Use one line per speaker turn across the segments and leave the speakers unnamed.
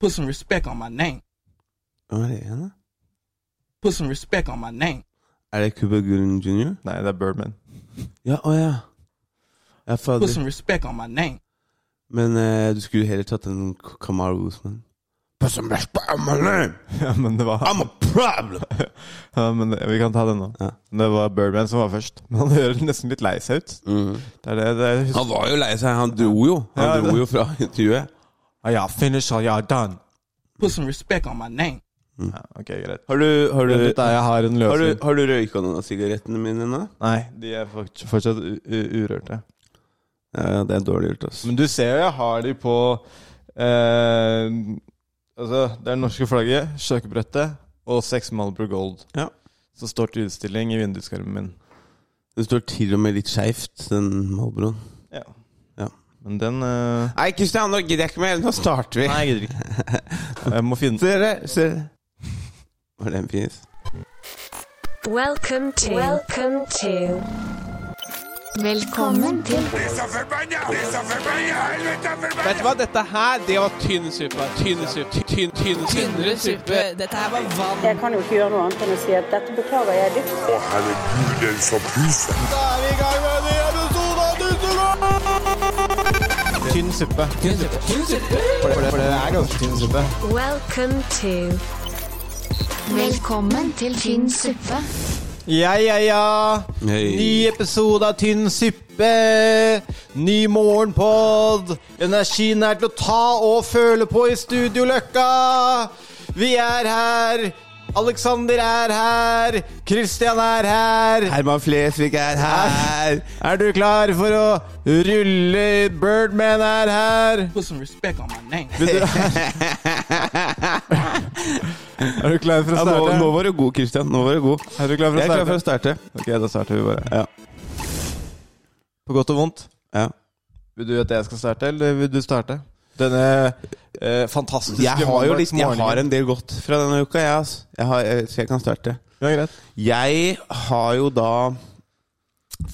Put some respect on my name.
Hva er det igjen, da?
Put some respect on my name.
Er det Cuba Gooding Jr.?
Nei, det er Birdman.
Ja, å ja. Ja,
Put
fader.
some respect on my name.
Men eh, du skulle heller tatt en K- Kamaru Usman. Put some respect on my name.
Ja, men det var
I'm a problem!
ja, men det, Vi kan ta den nå.
Ja.
Det var Birdman som var først. Men han høres nesten litt lei seg ut. Det er det, det er,
Mm. Han var jo lei seg. Han dro jo. Han
Ja,
dro jo fra intervjuet.
Ah, ja, finish all you are done.
Put some respect on my name.
Ja, ok, greit.
Har du, har du,
Dette er jeg har en
har du,
løsning.
har du røyka noen av sigarettene mine nå?
Nei, de er fort- fortsatt u u urørte.
Ja, det er dårlig gjort, ass.
Men du ser jo jeg har de på eh, Altså, det er det norske flagget, kjøkkenbrettet og seks Malbro Gold.
Ja.
Som står til utstilling i vinduskarmen min.
Det står til og med litt skeivt, den Malbroen.
Ja.
Ja.
Men den eh,
Nei, Kristian, nå gidder jeg ikke mer. Nå starter vi.
Nei, jeg gidder ikke. Jeg må finne
Ser dere? Ser dere? Var det en fin
Welcome to. Welcome to. Velkommen til
Vet du hva, dette her, det var tynn suppe. Tynn suppe. Tynn, tynn, tynnere suppe.
Dette her var vann.
Jeg kan jo ikke gjøre noe annet enn å si at dette beklager jeg dypt.
Å, herregud, den som puser.
tynn suppe. Tynn suppe. For, det, for det er ganske tynn suppe.
Welcome to. Velkommen til tynn suppe.
Ja, ja, ja.
Hei.
Ny episode av Tynn suppe. Ny morgenpod. Energien er til å ta og føle på i Studio Løkka. Vi er her. Alexander er her. Christian er her.
Herman Flesvig er her.
Er du klar for å rulle? Birdman er her.
Put some respect on my name.
Er du klar for
Ja, nå, nå var du god, Kristian. Nå var du god.
Er du klar
Jeg er klar for å starte.
Ok, da starter vi bare.
Ja.
På godt og vondt.
Ja.
Vil du at jeg skal starte, eller vil du starte? Denne eh, fantastiske
Jeg har jo litt Jeg
mandagsmorgenen.
har en del godt fra denne uka, jeg, altså. Jeg har, jeg- så jeg kan starte.
Ja, greit.
Jeg har jo da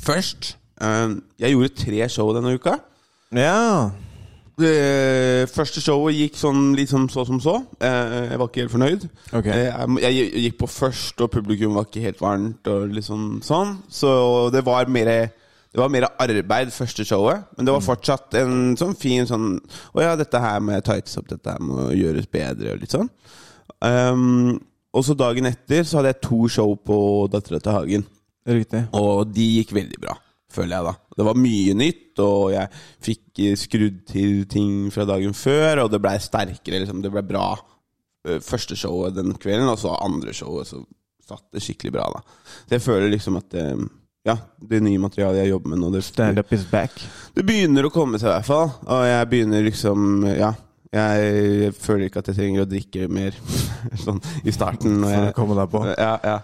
Først eh, Jeg gjorde tre show denne uka.
Ja.
Det Eh, første showet gikk sånn litt som så som så. Eh, Jeg var ikke helt fornøyd.
Ok.
Eh, jeg- Jeg gikk på først, og publikum var ikke helt varmt. Og liksom sånn Så det var mer det var mer arbeid første showet, men det var fortsatt en sånn fin sånn Å ja, dette her må jeg tightes opp, dette her må gjøres bedre, og litt sånn. Ehm, og så dagen etter så hadde jeg to show på Dattera til Hagen.
Riktig.
Og de gikk veldig bra, føler jeg da. Det var mye nytt, og jeg fikk eh, skrudd til ting fra dagen før, og det blei sterkere, liksom. Det blei bra. eh, Første showet den kvelden, og så andre showet, så satt det skikkelig bra, da. Så jeg føler liksom at eh, ja, det nye materialet jeg jobber med nå, det,
Stand up is back.
det begynner å komme seg i hvert fall. Og jeg begynner liksom Ja. Jeg føler ikke at jeg trenger å drikke mer sånn i starten. Når
For å
jeg,
komme deg på.
ja, ja.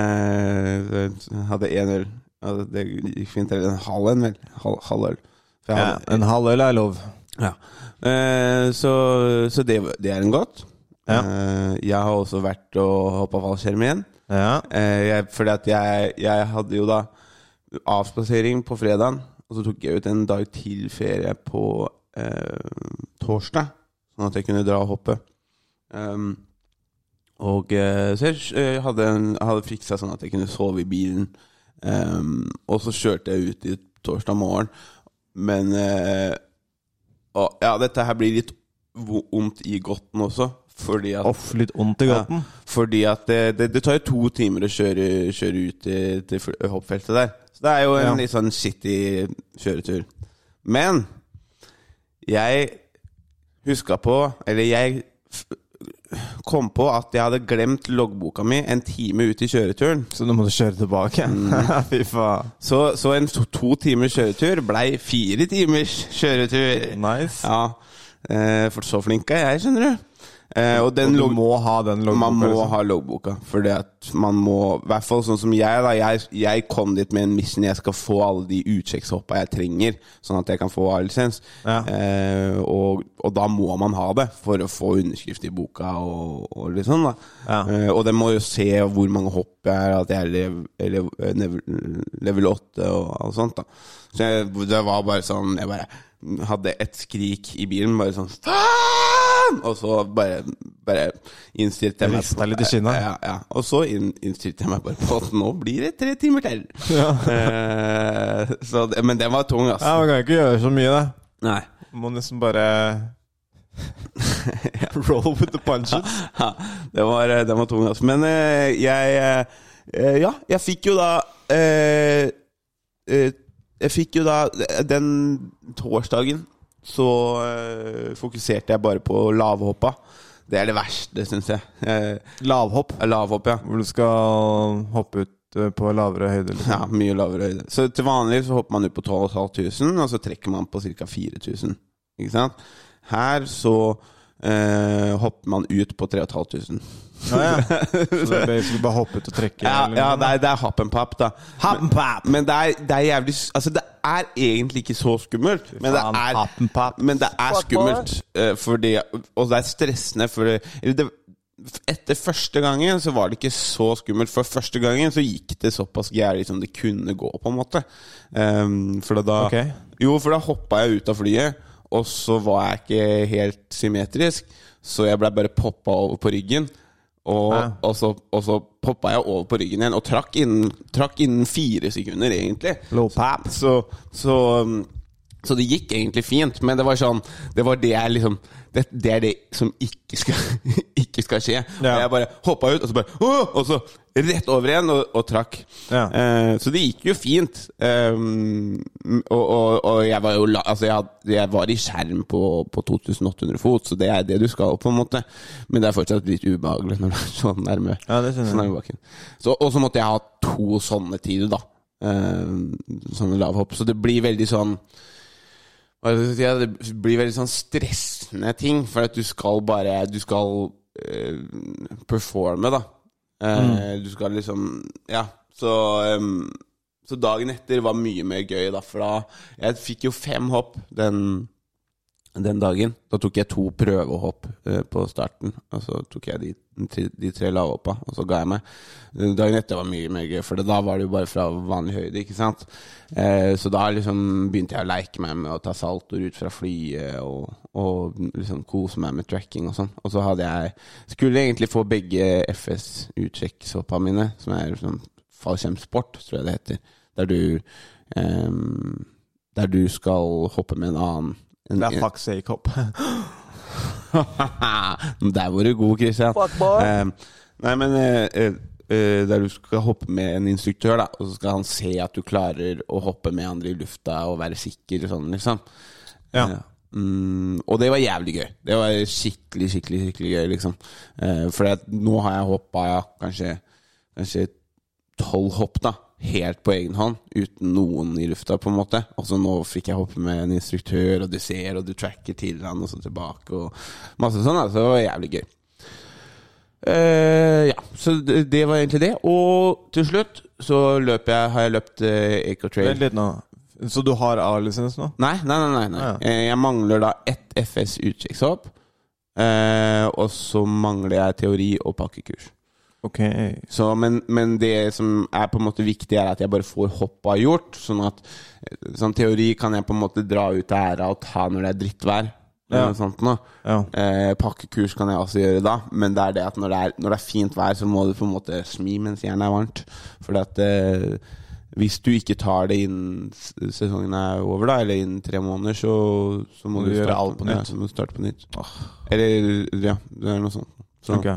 Eh, jeg hadde én øl. Ja, det- det gikk fint. Eller en halv en, vel. Halv, halv øl. For jeg
Ja,
hadde-
en halv øl er lov.
ja. Eh, så så det, det er en godt.
Ja.
Eh, jeg har også vært og hoppa fallskjerm igjen.
Ja.
Eh, jeg, fordi at jeg, jeg hadde jo da avspasering på fredagen, og så tok jeg ut en dag til ferie på eh, torsdag, sånn at jeg kunne dra og hoppe. Um, og eh, så jeg eh, hadde, en- hadde fiksa sånn at jeg kunne sove i bilen. Um, og så kjørte jeg ut i torsdag morgen, men eh, og, Ja, dette her blir litt vo- vondt i godten også, fordi at
Off, litt vondt i gaten.
fordi at det, det, det tar jo to timer å kjøre, kjøre ut til, til fl- hoppfeltet der. Så det er jo en
Ja.
litt sånn shitty kjøretur. Men jeg huska på Eller jeg f- kom på at jeg hadde glemt loggboka mi en time ut i kjøreturen.
Så nå må du kjøre tilbake. Fy faen.
Så, så en to, to timers kjøretur blei fire timers kjøretur.
Nice.
Ja, eh, for så flink er jeg, skjønner du. Eh, og den
Du
logg-
må ha den logoen.
Man må
liksom.
ha loggboka. Fordi at man må I hvert fall sånn som jeg, da. Jeg, jeg kom dit med en mission. Jeg skal få alle de utsjekkshoppa jeg trenger, sånn at jeg kan få A-lisens.
Ja.
Eh, og, og da må man ha det for å få underskrift i boka og, og litt sånn, da.
Ja.
Eh, og den må jo se hvor mange hopp jeg er, at jeg er lev, lev, level, level 8 og alt sånt, da. Så jeg, det var bare sånn Jeg bare hadde et skrik i bilen, bare sånn Faen! faen! Og så bare, bare innstilte jeg meg
Rista litt i kinnet.
Ja, ja. Og så inn, innstilte jeg meg bare på at nå blir det tre timer til. Eh, så, det- men den var tung, ass.
Ja, Man kan jo ikke gjøre så mye, det.
Nei.
Må nesten bare Roll with the punches.
Ja, den var, den var tung, altså. Men eh, jeg eh, Ja, jeg fikk jo da eh, eh, Jeg fikk jo da eh, Den torsdagen så eh, fokuserte jeg bare på lavhoppa. Det er det verste, syns jeg. Eh,
Lavhopp.
lavhopp, ja.
Hvor du skal hoppe ut eh, på lavere høyde. Liksom.
Ja, mye lavere høyde. Så til vanlig så hopper man ut på 12.500, og så trekker man på ca. 4000. Ikke sant? Her så eh, hopper man ut på 3500.
Ja, ja. Så det er basically bare hoppe ut og trekke?
Ja,
eller
ja
noe?
det, er, det er happ and pop, da.
Happ and pop.
Men, men det, er, det er jævlig s- Altså, det er egentlig ikke så skummelt, men det
faen, happ and
er,
pop.
men det er skummelt. eh, Fordi, og det er stressende, for det, eller det etter første gangen så var det ikke så skummelt. For første gangen så gikk det såpass gærent som det kunne gå, på en måte. Ehm, for da
Ok.
Jo, for da hoppa jeg ut av flyet, og så var jeg ikke helt symmetrisk, så jeg blei bare poppa over på ryggen. Og,
Ja.
og, så, og så poppa jeg over på ryggen igjen, og trakk innen, trakk innen fire sekunder, egentlig.
Low pop.
Så, så, um, så det gikk egentlig fint, men det var sånn Det var det jeg liksom Det, det er det som ikke skal, ikke skal skje.
Ja.
Og jeg bare hoppa ut, og så bare «Åh!» Og så rett over igjen, og, og trakk.
Ja.
Eh, så det gikk jo fint. Um, og, og, og jeg var jo la, Altså, jeg, hadde, jeg var i skjerm på, på 2800 fot, så det er det du skal, på en måte. Men det er fortsatt litt ubehagelig når du er så nærme.
Ja, det skjønner jeg.
så nærme bakken. Sånn Så, og så måtte jeg ha to sånne tider, da. Eh, sånne lavhopp. Så det blir veldig sånn hva skal jeg si, ja, Det blir veldig sånn stressende ting, for at du skal bare Du skal eh, performe, da. Eh,
Mm.
Du skal liksom Ja. Så, em, så dagen etter var mye mer gøy, da, for da Jeg fikk jo fem hopp den, den dagen. Da tok jeg to prøvehopp eh, på starten, og så tok jeg de, tre- de tre lavhoppa, og så ga jeg meg. Eh, Dagen etter var mye mer gøy, for da var det jo bare fra vanlig høyde, ikke sant. Eh, så da liksom begynte jeg å leke meg med å ta saltoer ut fra flyet og, og liksom kose meg med tracking og sånn. Og så hadde jeg Skulle egentlig få begge FS utsjekkshoppa mine, som er sånn fallskjermsport, tror jeg det heter. Der du ehm, Der du skal hoppe med en annen. En,
Det er fuck sake hopp.
Der var du god, Christian. Eh, nei, men eh, eh, eh, der du skal hoppe med en instruktør, da, og så skal han se at du klarer å hoppe med andre i lufta og være sikker og sånn, liksom.
Ja.
Ja. Mm, og det var jævlig gøy. Det var skikkelig, skikkelig skikkelig gøy, liksom. Eh, for at nå har jeg hoppa ja, kanskje Kanskje tolv hopp, da. Helt på egen hånd, uten noen i lufta, på en måte. Og så nå fikk jeg hoppe med en instruktør, og du ser, og du tracker til han, og så tilbake, og masse sånn. da. Så det var jævlig gøy. Eh, ja, så det, det var egentlig det. Og til slutt så løp jeg, har jeg løpt eh, Ecotrail.
Vent litt nå. Så du har A-lisens nå?
Nei, nei, nei. nei, nei.
Ah, ja.
Eh, Jeg mangler da ett FS utsjekkshopp. Eh, og så mangler jeg teori og pakkekurs.
Ok.
Så, men, men det som er på en måte viktig, er at jeg bare får hoppa gjort. Sånn at eh, sånn teori kan jeg på en måte dra ut av æra og ta når det er drittvær.
Ja.
Eller noe sånt nå.
Ja.
Eh, pakkekurs kan jeg også gjøre da, men det er det at når det er, når det er fint vær, så må du på en måte smi mens jernet er varmt. For at eh, hvis du ikke tar det innen s- sesongen er over, da, eller innen tre måneder, så, så må
Må
du,
du gjøre
starte,
alt på
Ja,
nytt.
så må du starte på nytt. Eller ja, det er noe sånt. Så,
Ok.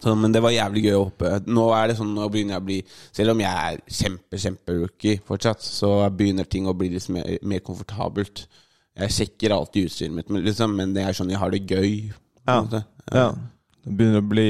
så, men det var jævlig gøy å hoppe. Nå er det sånn, nå begynner jeg å bli Selv om jeg er kjempe, kjemperookie fortsatt, så begynner ting å bli litt mer, mer komfortabelt. Jeg sjekker alltid utstyret mitt, men, liksom, men det er sånn jeg har det gøy. på
Ja.
en måte.
Ja. Det begynner å bli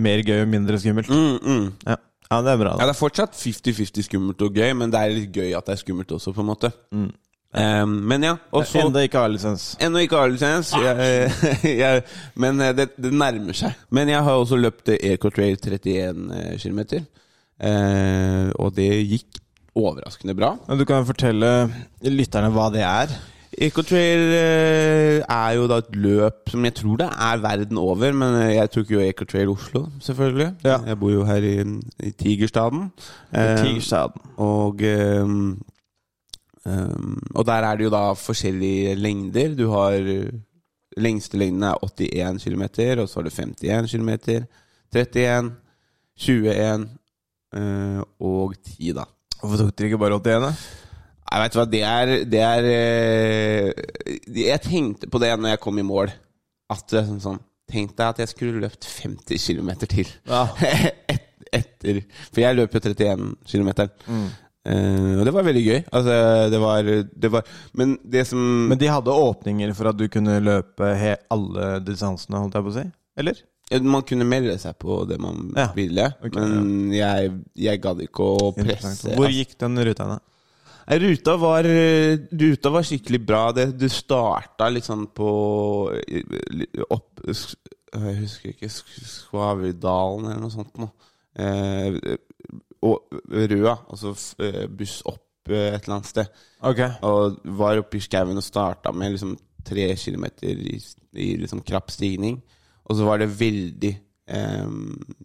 mer gøy og mindre skummelt.
Mm, mm.
Ja, ja det er bra.
Ja,
Da.
det er fortsatt 50-50 skummelt og gøy, men det er litt gøy at det er skummelt også, på en måte. Um, men ja, og så
Enda ikke A-lisens.
Ennå ikke A-lisens, jeg- jeg- men eh, det, det nærmer seg. Men jeg har også løpt eh, Aircotrail 31 km, eh, og det gikk overraskende bra.
Men Du kan jo fortelle lytterne hva det er.
Ecotrail eh, er jo da et løp som jeg tror det er verden over, men eh, jeg tok jo Ecotrail Oslo, selvfølgelig.
Ja.
Jeg bor jo her i, i Tigerstaden. Eh,
Tigerstaden.
og eh, ehm, ehm, Og der er det jo da forskjellige lengder. Du har Lengste lengden er 81 km, og så har du 51 km, 31, 21 eh, og 10, da.
Hvorfor tok dere ikke bare 81, da?
Mm. Jeg vet hva, det er, det er eh, Jeg tenkte på det når jeg kom i mål. At det er sånn, sånn Tenk deg at jeg skulle løpt 50 km til.
Ja.
Et, etter For jeg løp jo 31 km.
Mm.
og det var veldig gøy. Altså, det var, det var Men det som
Men de hadde åpninger for at du kunne løpe he alle distansene, holdt jeg på å si? Eller?
Man kunne melde seg på det man
Ja.
ville.
Ok,
men jeg, jeg gadd ikke å
Interessant.
presse.
Hvor gikk den ruta hen? da?
Nei, Ruta var, eh, ruta var skikkelig bra. Det, du starta litt sånn på opp, sk- Jeg husker ikke sk- Skvaverdalen eller noe sånt noe. Eh, og Røa, altså f- eh, buss opp eh, et eller annet sted.
Ok.
Og var oppe i skauen og starta med liksom tre kilometer i, i liksom krapp stigning. Og så var det veldig eh,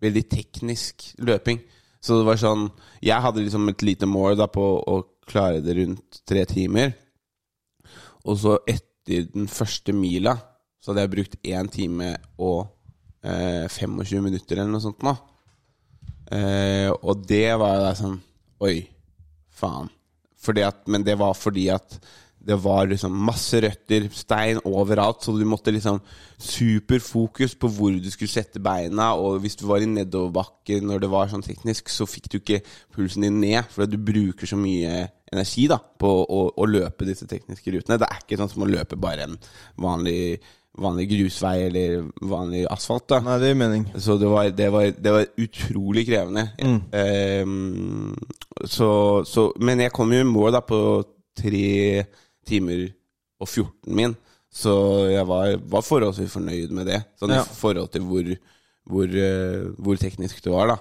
Veldig teknisk løping. Så det var sånn Jeg hadde liksom et lite mål da på å klare det rundt tre timer. Og så etter den første mila så hadde jeg brukt én time og eh, 25 minutter eller noe sånt nå. Eh, og det var jo da sånn Oi, faen. Fordi at, men det var fordi at det var liksom masse røtter, stein overalt, så du måtte liksom superfokus på hvor du skulle sette beina, og hvis du var i nedoverbakke når det var sånn teknisk, så fikk du ikke pulsen din ned, fordi du bruker så mye energi da, på å, å løpe disse tekniske rutene. Det er ikke sånn som å løpe bare en vanlig, vanlig grusvei eller vanlig asfalt da.
Nei, det gir mening.
Så det var, det var, det var utrolig krevende. Ehm, så, så, men jeg kom jo i mål da på tre timer og 14 min, så jeg var, var forholdsvis fornøyd med det. Sånn
Ja.
i forhold til hvor, hvor, eh, hvor teknisk det var, da.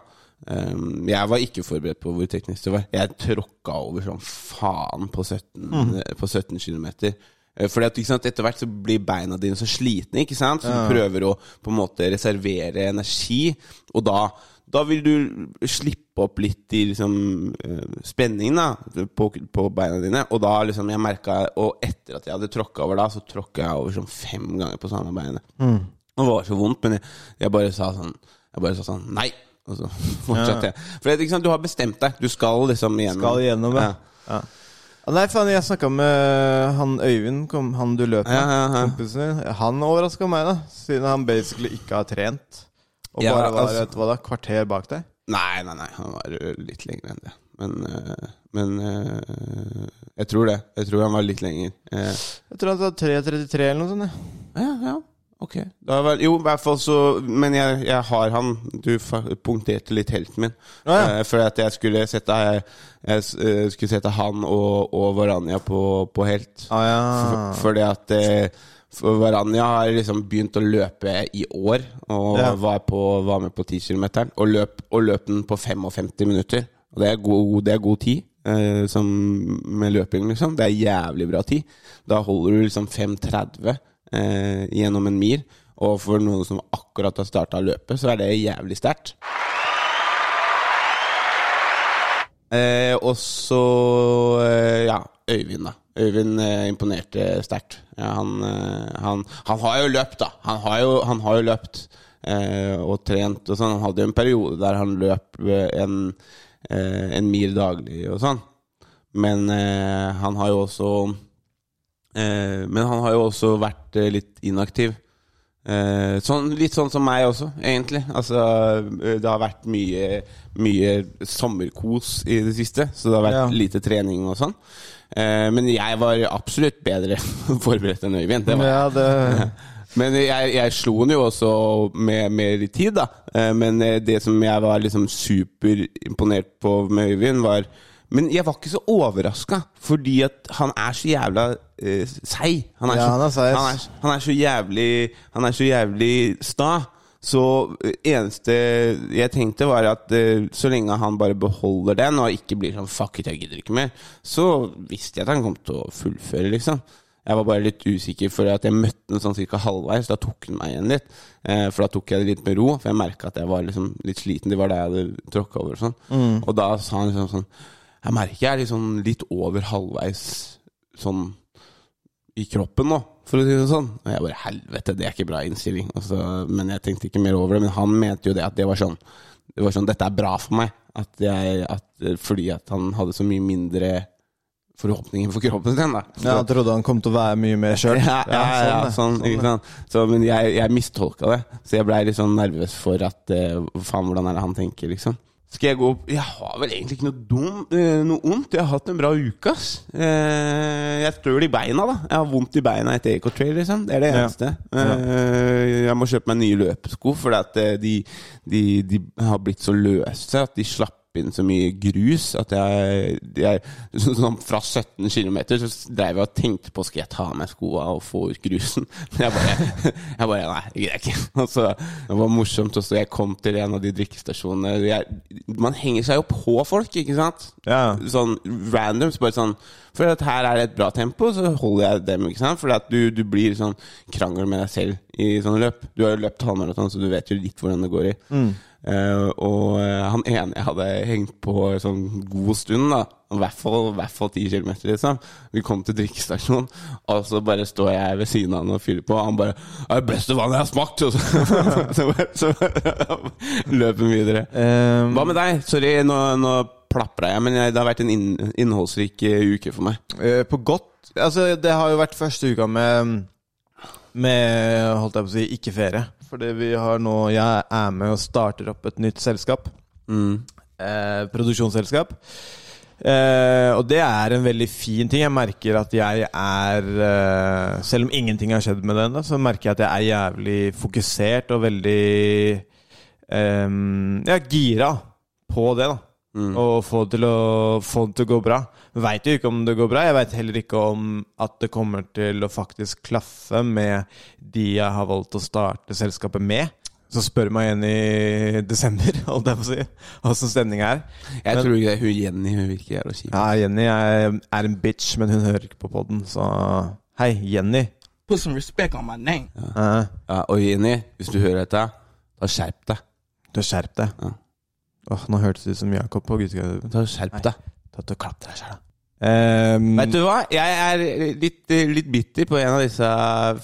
Ehm, jeg var ikke forberedt på hvor teknisk det var. Jeg tråkka over som faen på 17, eh, på 17 km. Fordi at, ikke sant, Etter hvert så blir beina dine så slitne, ikke sant? så du prøver å på en måte reservere energi. Og da, da vil du slippe opp litt i liksom, eh, spenningen da, på, på beina dine. Og da liksom jeg merket, og etter at jeg hadde tråkka over da, så tråkka jeg over sånn fem ganger på samme beinet.
Mm.
Det var så vondt, men jeg, jeg bare sa sånn Jeg bare sa sånn Nei! Og så fortsatte jeg. For det, ikke sant, du har bestemt deg. Du skal liksom igjennom.
Skal igjennom, ja.
Ja.
ja. Ja, Nei, faen, jeg snakka med eh, han Øyvind, kom, han du løp med,
Ja, ja, ja.
kompisen din. Han overraska meg, da, siden han basically ikke har trent. Og
Ja,
bare var
altså-
et hva da, kvarter bak deg.
Nei, nei, nei, han var ø, litt lenger enn det. Men, ø, men ø, jeg tror det. Jeg tror han var litt lenger. Eh,
Jeg tror han sa 3.33 eller noe sånt. jeg.
ja, ja, ok. Da var, jo, i hvert fall så Men jeg, jeg har han. Du fa- punkterte litt helten min.
Ja, ja.
Eh, for at jeg skulle sette Jeg, jeg s- ø, skulle sette han og, og Varanja på, på helt.
Ah, ja.
For- Fordi at eh, for Varanja har liksom begynt å løpe i år, og
Ja.
var, på, var med på 10 km. Og, løp- og løp den på 55 minutter. Og det er god, det er god tid eh, som med løping, liksom. Det er jævlig bra tid. Da holder du liksom 5.30 eh, gjennom en mil. Og for noen som akkurat har starta løpet, så er det jævlig sterkt. Eh, og så eh, ja, Øyvind, da. Øyvind eh, imponerte sterkt. Ja, han, eh, han, han har jo løpt, da. Han har jo, han har jo løpt eh, og trent og sånn. Han hadde jo en periode der han løp eh, en, eh, en mil daglig og sånn. Men eh, han har jo også eh, Men han har jo også vært eh, litt inaktiv. Eh, sånn, litt sånn som meg også, egentlig. Altså, eh, det har vært mye, mye sommerkos i det siste, så det har vært
Ja.
lite trening og sånn. Eh, men jeg var absolutt bedre forberedt enn Øyvind. Det var jeg.
ja, det
Men jeg, jeg slo den jo også med mer tid, da. Eh, Men eh, det som jeg var liksom superimponert på med Øyvind, var Men jeg var ikke så overraska, fordi at han er så jævla eh, seig. Han
Ja,
så-
han er seig, ass.
Han, er, han er så jævlig Han er så jævlig sta. Så eh, eneste jeg tenkte, var at eh, så lenge han bare beholder den, og ikke blir sånn 'fuck it, jeg gidder ikke mer', så visste jeg at han kom til å fullføre, liksom. Jeg var bare litt usikker, for at jeg møtte den sånn cirka halvveis. Da tok den meg igjen litt. Eh, for da tok jeg det litt med ro, for jeg merka at jeg var liksom litt sliten. Det var det jeg hadde tråkka over og sånn.
Mm.
Og da sa han liksom sånn Jeg merker jeg er liksom litt over halvveis sånn i kroppen nå. for å si det sånn. Og jeg bare helvete, det er ikke bra innstilling. Og så- men jeg tenkte ikke mer over det. Men han mente jo det, at det var sånn, det var sånn Dette er bra for meg. At jeg, at, fordi at han hadde så mye mindre forhåpninger for kroppen sin. Da.
Ja, han trodde han kom til å være mye med sjøl.
Ja, ja, ja, sånn, ikke sant? Så, men jeg, jeg mistolka det, så jeg blei litt sånn nervøs for at eh, Faen, hvordan er det han tenker, liksom? Skal jeg gå opp Jeg har vel egentlig ikke noe dum, eh, noe ondt. Jeg har hatt en bra uke, ass. Eh, jeg er støl i beina, da. Jeg har vondt i beina etter Ecotrail, liksom. Det er det
Ja.
eneste. Eh, jeg må kjøpe meg nye løpesko, for at eh, de, de, de har blitt så løse at de slapp inn så mye grus at jeg, jeg sånn, som Fra 17 km så drev jeg og tenkte på Skal jeg ta av meg skoa og få ut grusen. Men jeg bare, jeg bare Nei, det greier jeg ikke. Og så, det var morsomt. Og så jeg kom til en av de drikkestasjonene jeg, Man henger seg jo på folk, ikke sant?
Ja.
Sånn random. Så bare sånn For at her er det et bra tempo, så holder jeg dem, ikke sant? For at du, du blir sånn krangel med deg selv i sånne løp. Du har jo løpt halvmaraton, så du vet jo litt hvordan det går i. Eh, og eh, han ene jeg hadde hengt på en sånn god stund, da i hvert fall, i hvert fall 10 km, liksom. Vi kom til drikkestasjonen, og så bare står jeg ved siden av han og fyller på. Og han bare 'Det er det beste vannet jeg har smakt!' Og så, så, bare, så bare løper han videre.
Ehm,
Hva med deg? Sorry, nå, nå plapra jeg, men jeg, det har vært en inn, innholdsrik eh, uke for meg.
eh, på godt Altså, det har jo vært første uka med Med, holdt jeg på å si, ikke ferie. Fordi vi har nå Jeg er med og starter opp et nytt selskap. Eh, produksjonsselskap. Eh, og det er en veldig fin ting. Jeg merker at jeg er eh, Selv om ingenting har skjedd med det ennå, så merker jeg at jeg er jævlig fokusert og veldig eh, Ja, gira på det, da.
Mm.
Og få det, til å, få det til å gå bra. Veit jo ikke om det går bra. Jeg veit heller ikke om at det kommer til å faktisk klaffe med de jeg har valgt å starte selskapet med. Så spør meg igjen i desember, holdt jeg på å si, åssen stemninga er.
Jeg tror ikke det. Hun Jenny hun virker jævla kjip.
Ja, Jenny er, er en bitch, men hun hører ikke på podden, så Hei, Jenny.
Put some respect on my name.
Eh,
Ja, og Jenny, hvis du hører dette, da skjerp deg.
du har skjerpet deg.
Ja.
Åh, Nå hørtes det ut som Jakob på gutteklubben.
Da skjerp
Nei.
deg.
Ta til å klappe deg selv, da. Ehm,
Vet du hva? Jeg er litt, litt bitter på en av disse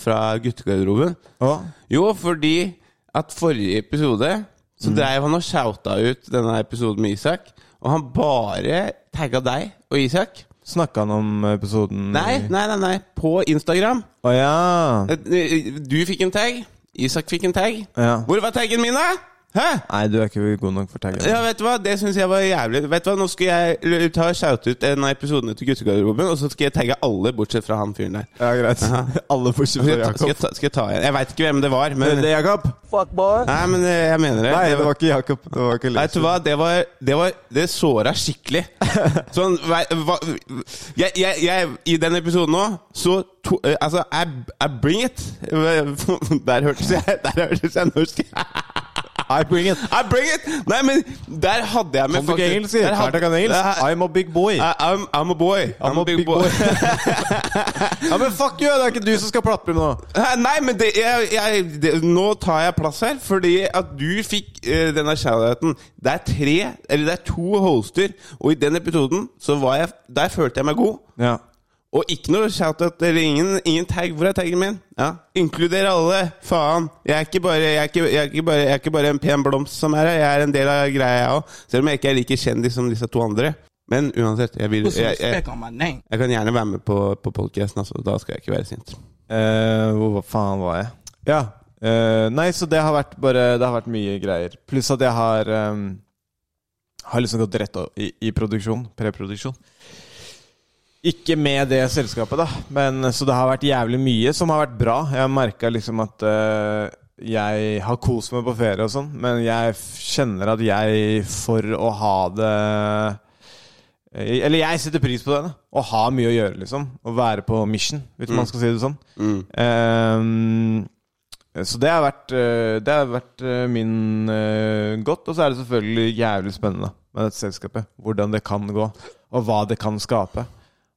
fra guttegarderoben.
å,
Jo, fordi at forrige episode
Mm.
så dreiv han og shouta ut denne episoden med Isak. Og han bare tagga deg og Isak.
snakka han om episoden
Nei, nei, nei, nei. På Instagram.
Å ja.
Eh, Du fikk en tag. Isak fikk en tag.
Ja.
Hvor var taggen min, da? Hæ?
Nei, du er ikke god nok for taggen.
Ja, vet du hva? Det syns jeg var jævlig. Vet du hva, Nå skal jeg l- ta og shoute ut en av episodene til guttegarderoben, og så skal jeg tagge alle bortsett fra han fyren der.
Ja, greit. Alle bortsett
Skal jeg, ta, skal, jeg ta, skal jeg ta igjen? Jeg veit ikke hvem det var, men
Det er Jakob.
Nei, men eh, jeg mener det.
Nei,
Det
det
var-
var ikke Jakob. Det var ikke
Vet du hva, det var Det, var, det såra skikkelig. Sånn vei- hva, jeg, jeg, jeg, I den episoden nå, så to, eh, Altså, I, I bring it! Der hørtes jeg Der hørtes jeg norsk I bring it! I bring it! Nei, men der hadde jeg med
Kan du ikke
faktisk-
engelsk? sier?
der hadde-
Kartak kan engelsk.
Der-
I'm a big boy.
I- I'm, I'm a boy. I'm, a big, boy.
ja, men fuck you! Det er ikke du som skal plapre nå.
Hæ, Nei, men det, jeg, jeg, det, nå tar jeg plass her, fordi at du fikk eh, denne shout-outen. Det er tre, eller det er to hoster, og i den episoden så var jeg Der følte jeg meg god.
Ja.
Og ikke noe shout-out eller ingen, ingen tag. Hvor er taggen min? Ja. Inkluder alle! Faen! Jeg er, ikke bare, jeg, er ikke, jeg, er ikke bare, jeg er ikke bare en pen blomst som er her, jeg er en del av greia, jeg òg. Selv om jeg ikke er like kjendis som disse to andre. Men uansett, jeg, vil,
Put some
jeg, jeg,
respect on my name.
jeg kan gjerne være med på, på podkasten, altså. Da skal jeg ikke være sint.
Eh, hvor faen var jeg? Ja. eh, nei, så det har vært bare Det har vært mye greier. Pluss at jeg har ehm, Har liksom gått rett o- i, i produksjon. Preproduksjon. Ikke med det selskapet, da. Men, så det har vært jævlig mye som har vært bra. Jeg har merka liksom at eh, jeg har kost meg på ferie og sånn, men jeg f- kjenner at jeg, for å ha det eh, Eller jeg setter pris på det. da. Å ha mye å gjøre, liksom. Å være på mission, hvis
Mm.
man skal si det sånn. Eh, så det har vært, eh, det har vært eh, min eh, godt. Og så er det selvfølgelig jævlig spennende med dette selskapet. Hvordan det kan gå, og hva det kan skape.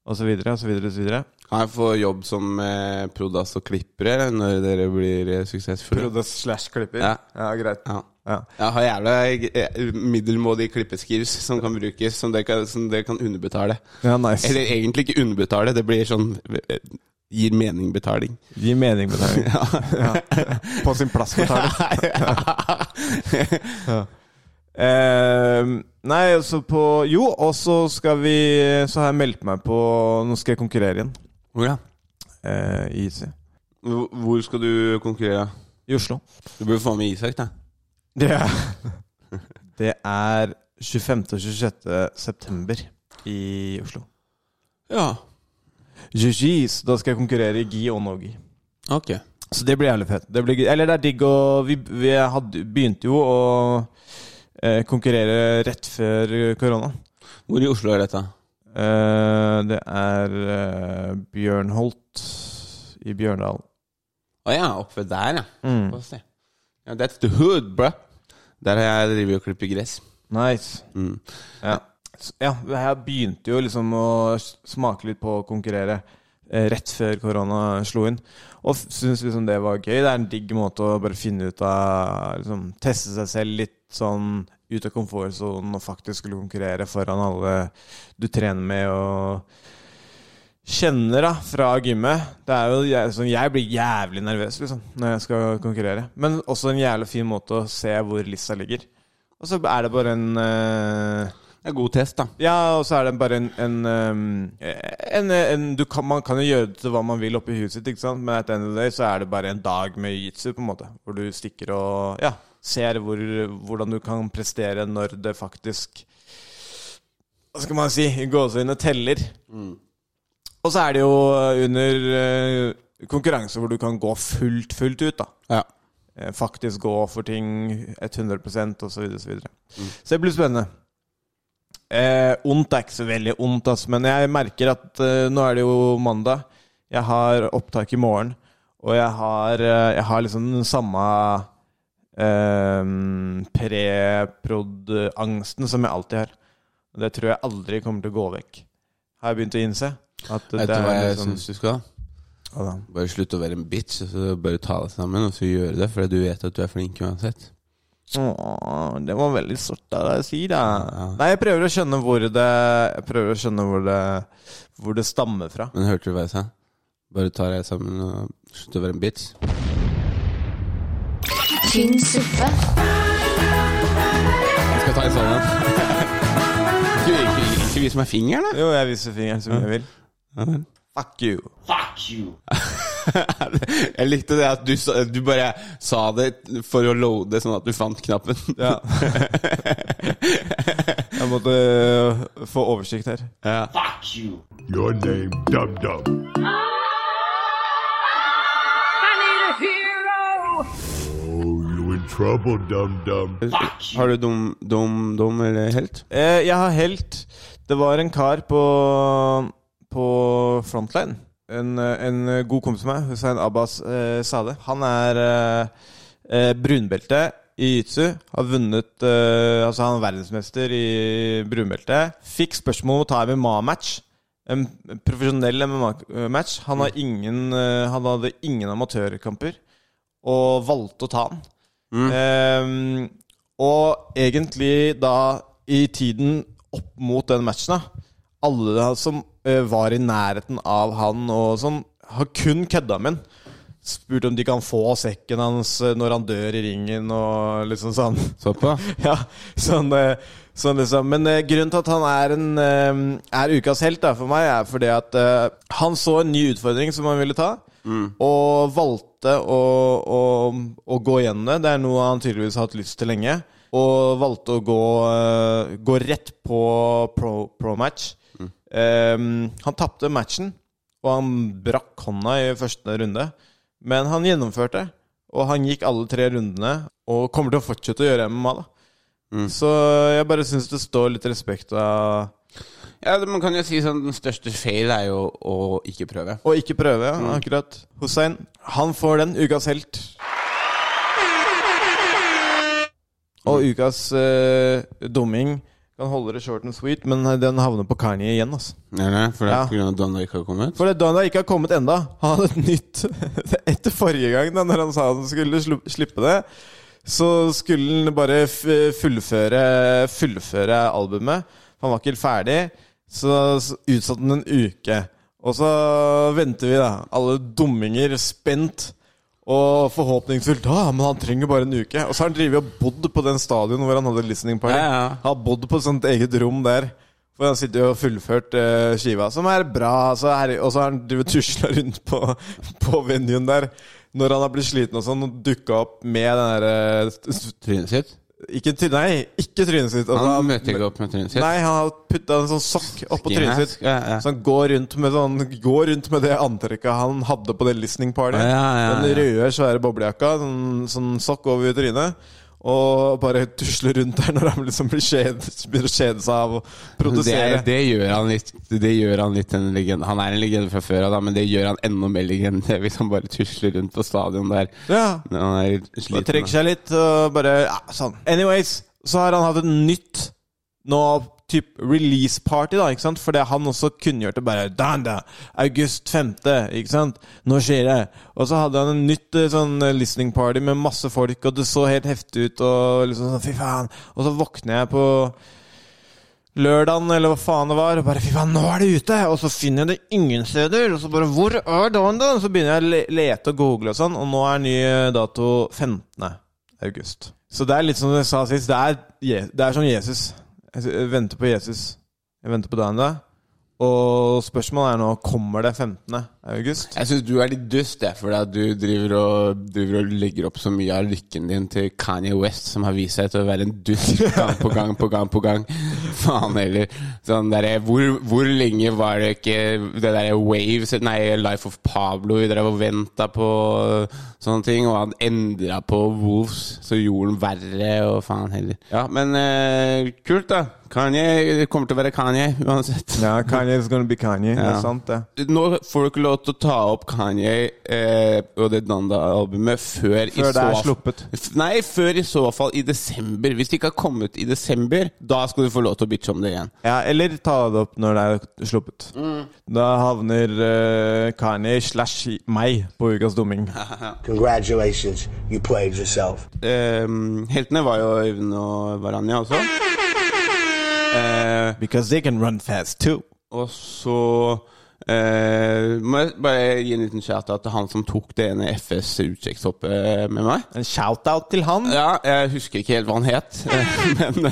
Og så videre, og så videre, og så videre.
Kan jeg få jobb som eh, prodas og klippere når dere blir eh, suksessfulle?
Prodas slash klipper.
Ja.
greit.
ja.
Ja.
Jeg har jævla eh, middelmådige klippeskills som kan brukes, som dere kan, som dere kan underbetale.
Ja, nice.
Eller egentlig ikke underbetale, det blir sånn eh, Gir mening betaling.
Gi mening med det.
Ja.
På sin plass betaling. Ja. nei, altså på Jo, og så skal vi Så har jeg meldt meg på Nå skal jeg konkurrere igjen.
Hvor, da?
eh, I IC.
Hvor- Hvor skal du konkurrere?
I Oslo.
Du burde få med Isak, da.
Det er, det er 25. og 26. september i Oslo.
Ja.
Jujis, da skal jeg konkurrere i gi og no-gi.
Ok.
Så det blir jævlig fett. Det blir, gøy. eller det er digg å Vi, vi hadde, begynte jo å eh, konkurrere rett før korona.
Hvor i Oslo er dette?
Eh, det er eh, Bjørnholt i Bjørndal.
Å ja, oppe der, ja.
Mm.
Få se. Ja, that's the hood, bruh. Der har jeg drevet og klippet gress.
Nice.
Mm.
Ja. S- ja, jeg begynte jo liksom å s- smake litt på å konkurrere eh, rett før korona slo inn. Og f- syntes liksom det var gøy. Det er en digg måte å bare finne ut av liksom, Teste seg selv litt sånn ut av komfortsonen og faktisk skulle konkurrere foran alle du trener med og kjenner da fra gymmet. Det er jo jeg, sånn, jeg blir jævlig nervøs liksom når jeg skal konkurrere. Men også en jævlig fin måte å se hvor lista ligger. Og så er det bare en eh,
Det er god test, da.
ja, og så er det bare en, en, um, en, en du kan, Man kan jo gjøre det til hva man vil oppi huet sitt, ikke sant? men at the end of the day så er det bare en dag med jiu-jitsu, på en måte. Hvor du stikker og ja, ser hvor, hvordan du kan prestere når det faktisk Hva skal man si? i Gåsehudene teller. Og så er det jo under eh, konkurranse hvor du kan gå fullt, fullt ut, da
Ja.
eh, faktisk gå for ting 100 osv. Så, videre, og så, videre.
Mm.
så det blir spennende. Eh, ondt er ikke så veldig ondt, ass, men jeg merker at eh, nå er det jo mandag. Jeg har opptak i morgen, og jeg har, eh, jeg har liksom den samme eh, preprod-angsten som jeg alltid har. Og det tror jeg aldri kommer til å gå vekk. Har jeg begynt å innse? At
Vet du
er
hva jeg
liksom-
syns sånn du skal?
Hva da?
Bare slutte å være en bitch, og så bare ta deg sammen og så gjøre det. For du vet at du er flink uansett.
Åh, det var veldig søtt av deg å si, da.
Ja.
Nei, jeg prøver å skjønne hvor det Jeg prøver å skjønne hvor det, hvor det stammer fra.
Men hørte du hva jeg sa? Bare ta deg sammen og slutte å være en bitch.
tynn suppe,
Jeg skal ta sånn deg sammen. du, ikke, ikke vis meg fingeren, da.
Jo, jeg viser fingeren som jeg vil.
Ja vel.
Fuck you.
Jeg likte det at du, sa- du bare sa det for å loade, sånn at du fant knappen.
Ja. jeg måtte øh, få oversikt her.
Your name, Dum Dum. Oh, you in trouble, Dum Dum.
Har du dum, dum, dum eller helt?
Eh, jeg har helt Det var en kar på, på Frontline. En, eh, en god kompis av meg, Hussein Abbas eh, Saleh. Han er eh, eh, brunbelte i jiu-jitsu. Har vunnet eh, Altså, han er verdensmester i brunbelte. Fikk spørsmål om å ta MMA-match. En profesjonell MMA-match. Han, har ingen, eh, han hadde ingen amatørkamper, og valgte å ta han. Ehm, og egentlig da i tiden opp mot den matchen, da Alle da som eh, var i nærheten av han og sånn, har kun kødda med han. Spurt om de kan få sekken hans eh, når han dør i ringen og liksom sånn.
Såpass?
Ja, sånn, eh, sånn liksom. Men eh, grunnen til at han er, en, eh, er ukas helt da, for meg, er fordi at eh, han så en ny utfordring som han ville ta, og valgte å, å, å gå gjennom det. Det er noe han tydeligvis har hatt lyst til lenge. Og valgte å gå, eh, gå rett på pro, pro match. Eh, han tapte matchen, og han brakk hånda i første runde. Men han gjennomførte, og han gikk alle tre rundene. Og kommer til å fortsette å gjøre MMA, da. Mm. Så jeg bare syns det står litt respekt av
Ja, det- man kan jo si sånn den største feil er jo å ikke prøve.
å ikke prøve, ja, akkurat. Hussein, han får den. Ukas helt. Og ukas eh, dumming kan holde det short and sweet, men den havner på Kanye igjen, altså.
Ja, nei, for det
Ja.
er på grunn av at Donald ikke har kommet?
For det Dana ikke har kommet enda Han hadde et nytt Etter forrige gang da Når han sa han skulle slu- slippe det Så skulle han bare f- fullføre Fullføre albumet Han var ikke helt ferdig Så s- utsatte han en uke Og så venter vi, da. Alle dumminger spent. Og forhåpningsfullt Ja, men han trenger bare en uke. Og så har han drevet og bodd på den stadion hvor han hadde listening party.
Ja, ja.
Han har bodd på et sånt eget rom der. For han sitter jo og fullført eh, skiva, som er bra. Så er, og så har han drevet tusla rundt på, på venuen der. Når han har blitt sliten og sånn, og dukka opp med den derre
Trynet sitt?
Ikke, try- nei, ikke trynet sitt. Altså,
Han møter ikke opp med trynet sitt.
Nei, han har putta en sånn sokk oppå
Skinhead.
trynet sitt.
Ja, ja.
Så han går rundt med, sånn, går rundt med det antrekket han hadde på det listening party.
Ja, ja, ja.
Den røde, svære boblejakka, sånn, sånn sokk over trynet. Og bare tusler rundt der når han liksom blir kjed, begynner å kjede seg av å
Det,
produsere.
det gjør han litt Det gjør han litt en legende. Han er en legende fra før av, da, men det gjør han enda mer legende hvis han bare tusler rundt på stadion der.
Ja.
Når han er litt
Bare
sliten.
trekker seg litt og bare ja, sånn. Anyways, så har han hatt et nytt nå typ release party, da, ikke sant? For det han også kunngjørte bare «Dan da, August 5., ikke sant? Nå skjer det. Og så hadde han en nytt eh, sånn eh, listening party med masse folk, og det så helt heftig ut, og liksom sånn fy faen. Og så våkner jeg på lørdagen, eller hva faen det var, og bare 'fy faen, nå er det ute', og så finner jeg det ingen steder, og så bare 'hvor er dagen da?' Så begynner jeg å le- lete og google og sånn, og nå er ny dato 15. august. Så det er litt som jeg sa sist, det er, Je- det er som Jesus. Jeg s- Jeg venter på Jesus. Jeg venter på dagen da. Og spørsmålet er nå kommer det 15. august.
Jeg syns du er litt dust, jeg, fordi at du driver og, driver og legger opp så mye av lykken din til Kanye West, som har vist seg til å være en dust gang på gang på gang på gang. Faen heller. Sånn derre hvor, hvor lenge var det ikke det derre Waves Nei, Life of Pablo vi drev og venta på sånne ting, og han endra på Wolves, så gjorde han verre, og faen heller. Ja, men eh, kult, da. Kanye kommer til å være Kanye uansett.
Ja, Kanye is gonna be Kanye. Det
Ja.
er sant, det.
Nå får du ikke lov til å ta opp Kanye eh, og det Danda-albumet før, i
Før det er
så-
sluppet.
F- Nei, før i så fall i desember. Hvis det ikke har kommet i desember, da skal du få lov til å bitche om det igjen.
Ja, eller ta det opp når det er sluppet. Da havner eh, Kanye slash meg på Ukas dumming.
Congratulations, you played yourself.
Eh, heltene var jo Øyvind og Varanja også. Eh,
Because they can run fast too.
og så eh, må jeg bare gi en liten shout-out til han som tok det ene FS utkikkshoppet med meg.
En shout-out til han.
Ja, jeg husker ikke helt hva han het, men,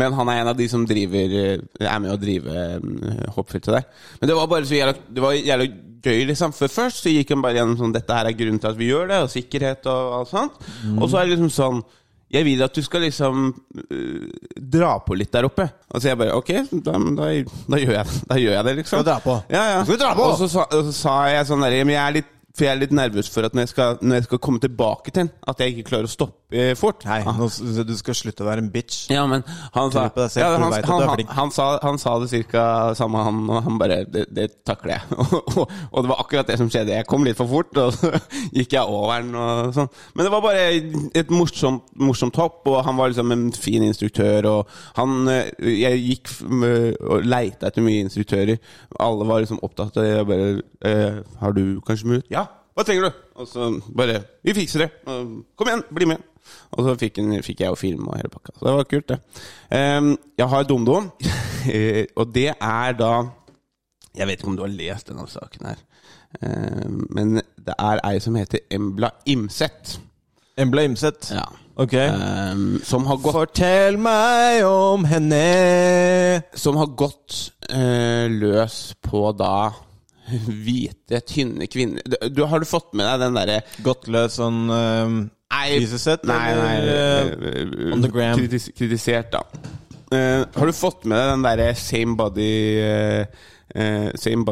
men han er en av de som driver er med å drive eh, hoppfeltet der. Men det var bare så jævla, det var jævla gøy, liksom. For først så gikk han bare gjennom sånn Dette her er grunnen til at vi gjør det, og sikkerhet og alt sånt.
Mm.
Og så er det liksom sånn jeg vil at du skal liksom eh, dra på litt der oppe. Og så jeg bare Ok, da, da, da, gjør, jeg, da gjør jeg det, liksom.
Skal dra på.
Ja, ja.
Skal dra på.
Og så sa, og så sa jeg sånn der, men jeg er litt for jeg er litt nervøs for at når jeg skal, når jeg skal komme tilbake til den, at jeg ikke klarer å stoppe eh, fort.
Nei,
Ah.
nå, s- du skal slutte å være en bitch.
Ja, men han sa,
Tror på deg selv,
ja,
for du
han,
vet at
han,
du er
han,
flink.
han, sa, han sa det cirka samme, han, og han bare Det, det takler jeg. Og, og, og det var akkurat det som skjedde. Jeg kom litt for fort, og så gikk jeg over den og sånn. Men det var bare et morsomt, morsomt hopp, og han var liksom en fin instruktør, og han eh, Jeg gikk f- med- og leita etter mye instruktører. Alle var liksom opptatt av det. Jeg bare eh, Har du kanskje mulighet? Ja! Hva trenger du? Og så bare Vi fikser det. Og, Kom igjen, bli med. Og så fikk, en, fikk jeg jo film og hele pakka. Så det var kult, det. Ehm, jeg har dumdum, eh, og det er da Jeg vet ikke om du har lest denne saken her, Ehm, men det er ei som heter Embla Imset.
Embla Imset. Ok.
Ehm, som har gått
Fortell meg om henne.
som har gått eh, løs på da hvite, tynne kvinner Du- du, Har du fått med deg den derre
Godtløs sånn um,
Nei,
Jesus-sett,
nei, nei
eller,
eh,
on the gram?
kritis Kritisert, da. Eh, har du fått med deg den derre same body eh, eh, Same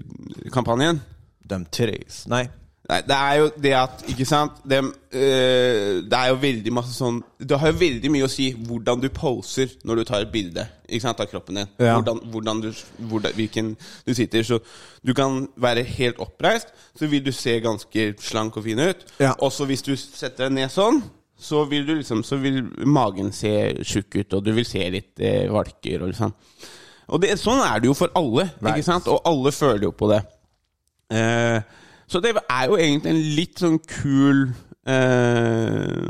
body-kampanjen?
Dem Therese. Nei.
Nei, det er jo det at Ikke sant? Det, eh, det er jo veldig masse sånn Det har jo veldig mye å si hvordan du poser når du tar et bilde Ikke sant, av kroppen din.
Ja.
Hvordan, hvordan du hvordan, Hvilken du sitter. Så du kan være helt oppreist, så vil du se ganske slank og fin ut.
Ja.
Og så hvis du setter deg ned sånn så vil, du liksom, så vil magen se tjukk ut, og du vil se litt eh, valker. Og liksom. Og det, sånn er det jo for alle,
Right.
ikke sant? og alle føler jo på det. Eh, så det er jo egentlig en litt sånn kul eh,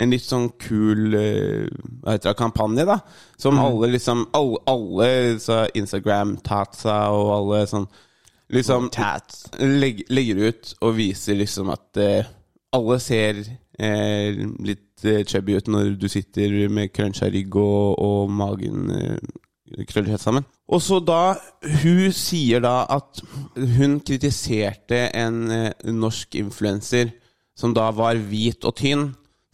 En litt sånn kul eh, Hva heter det, kampanje, da. Som alle liksom Alle, alle så Instagram-tatsa og alle sånn liksom
Tats.
legg, legger ut og viser liksom at eh, alle ser eh, litt eh, chubby ut når du sitter med krønsja rygg og, og magen eh, krøllet helt sammen. Og så da Hun sier da at hun kritiserte en eh, norsk influenser som da var hvit og tynn,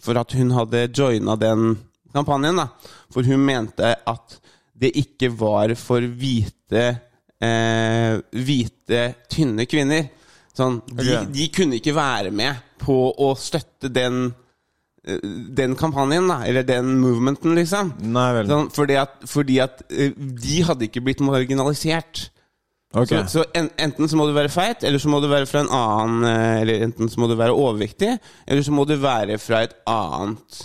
for at hun hadde joina den kampanjen. da. For hun mente at det ikke var for hvite, eh, hvite tynne kvinner. Sånn, de,
Ok.
de kunne ikke være med på å støtte den, eh, den kampanjen, da, eller den movementen, liksom.
Nei vel.
Sånn, fordi at, fordi at eh, de hadde ikke blitt marginalisert.
Ok.
Så, så en, enten så må du være feit, eller så må du være fra en annen eh, Eller enten så må du være overvektig, eller så må du være fra et annet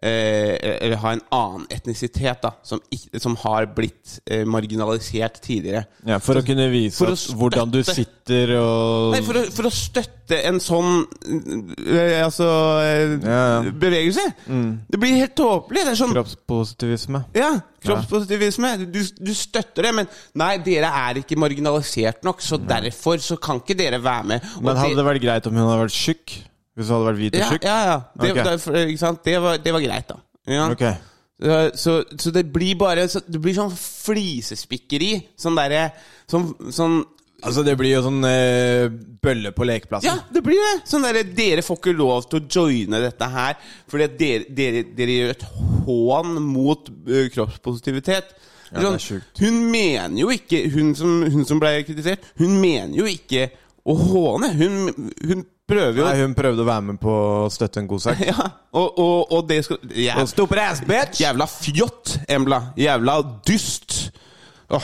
eh, Eller ha en annen etnisitet, da, som, ikke, som har blitt eh, marginalisert tidligere.
ja, for å kunne vise
For å
at hvordan du
støtte-
sitter og
Nei, for å, for å støtte en sånn eh, altså eh,
Ja, ja. Mm.
bevegelse. Det blir helt tåpelig. Det er sånn
Kroppspositivisme.
Ja, kroppspositivisme. Du, du støtter det, men nei, dere er ikke marginalisert nok, så derfor så kan ikke dere være med. Og
Men hadde
det-
det vært greit om hun hadde vært tjukk? Hvis hun hadde vært hvit og
ja,
tjukk?
ja, ja. Det,
Ok.
derfor, ikke sant? Det, var, det var greit, da. Ja.
Ok.
Eh, Så, så det blir bare så, Det blir sånn flisespikkeri. Sånn derre sånn, sånn
Altså, det blir jo sånn eh, bølle på lekeplassen.
Ja, det blir det! Sånn derre Dere får ikke lov til å joine dette her, fordi at dere, dere, dere gjør et hån mot eh, kroppspositivitet. Sånn,
Ja, det er sjukt.
Hun mener jo ikke Hun som, hun som ble kritisert, hun mener jo ikke å håne. Hun, hun prøver jo
Nei, hun prøvde å være med på å støtte en god sak.
ja, og, og, og det skal jæv-
Og stupid ass bitch!
Jævla fjott, Embla. Jævla dyst. Åh.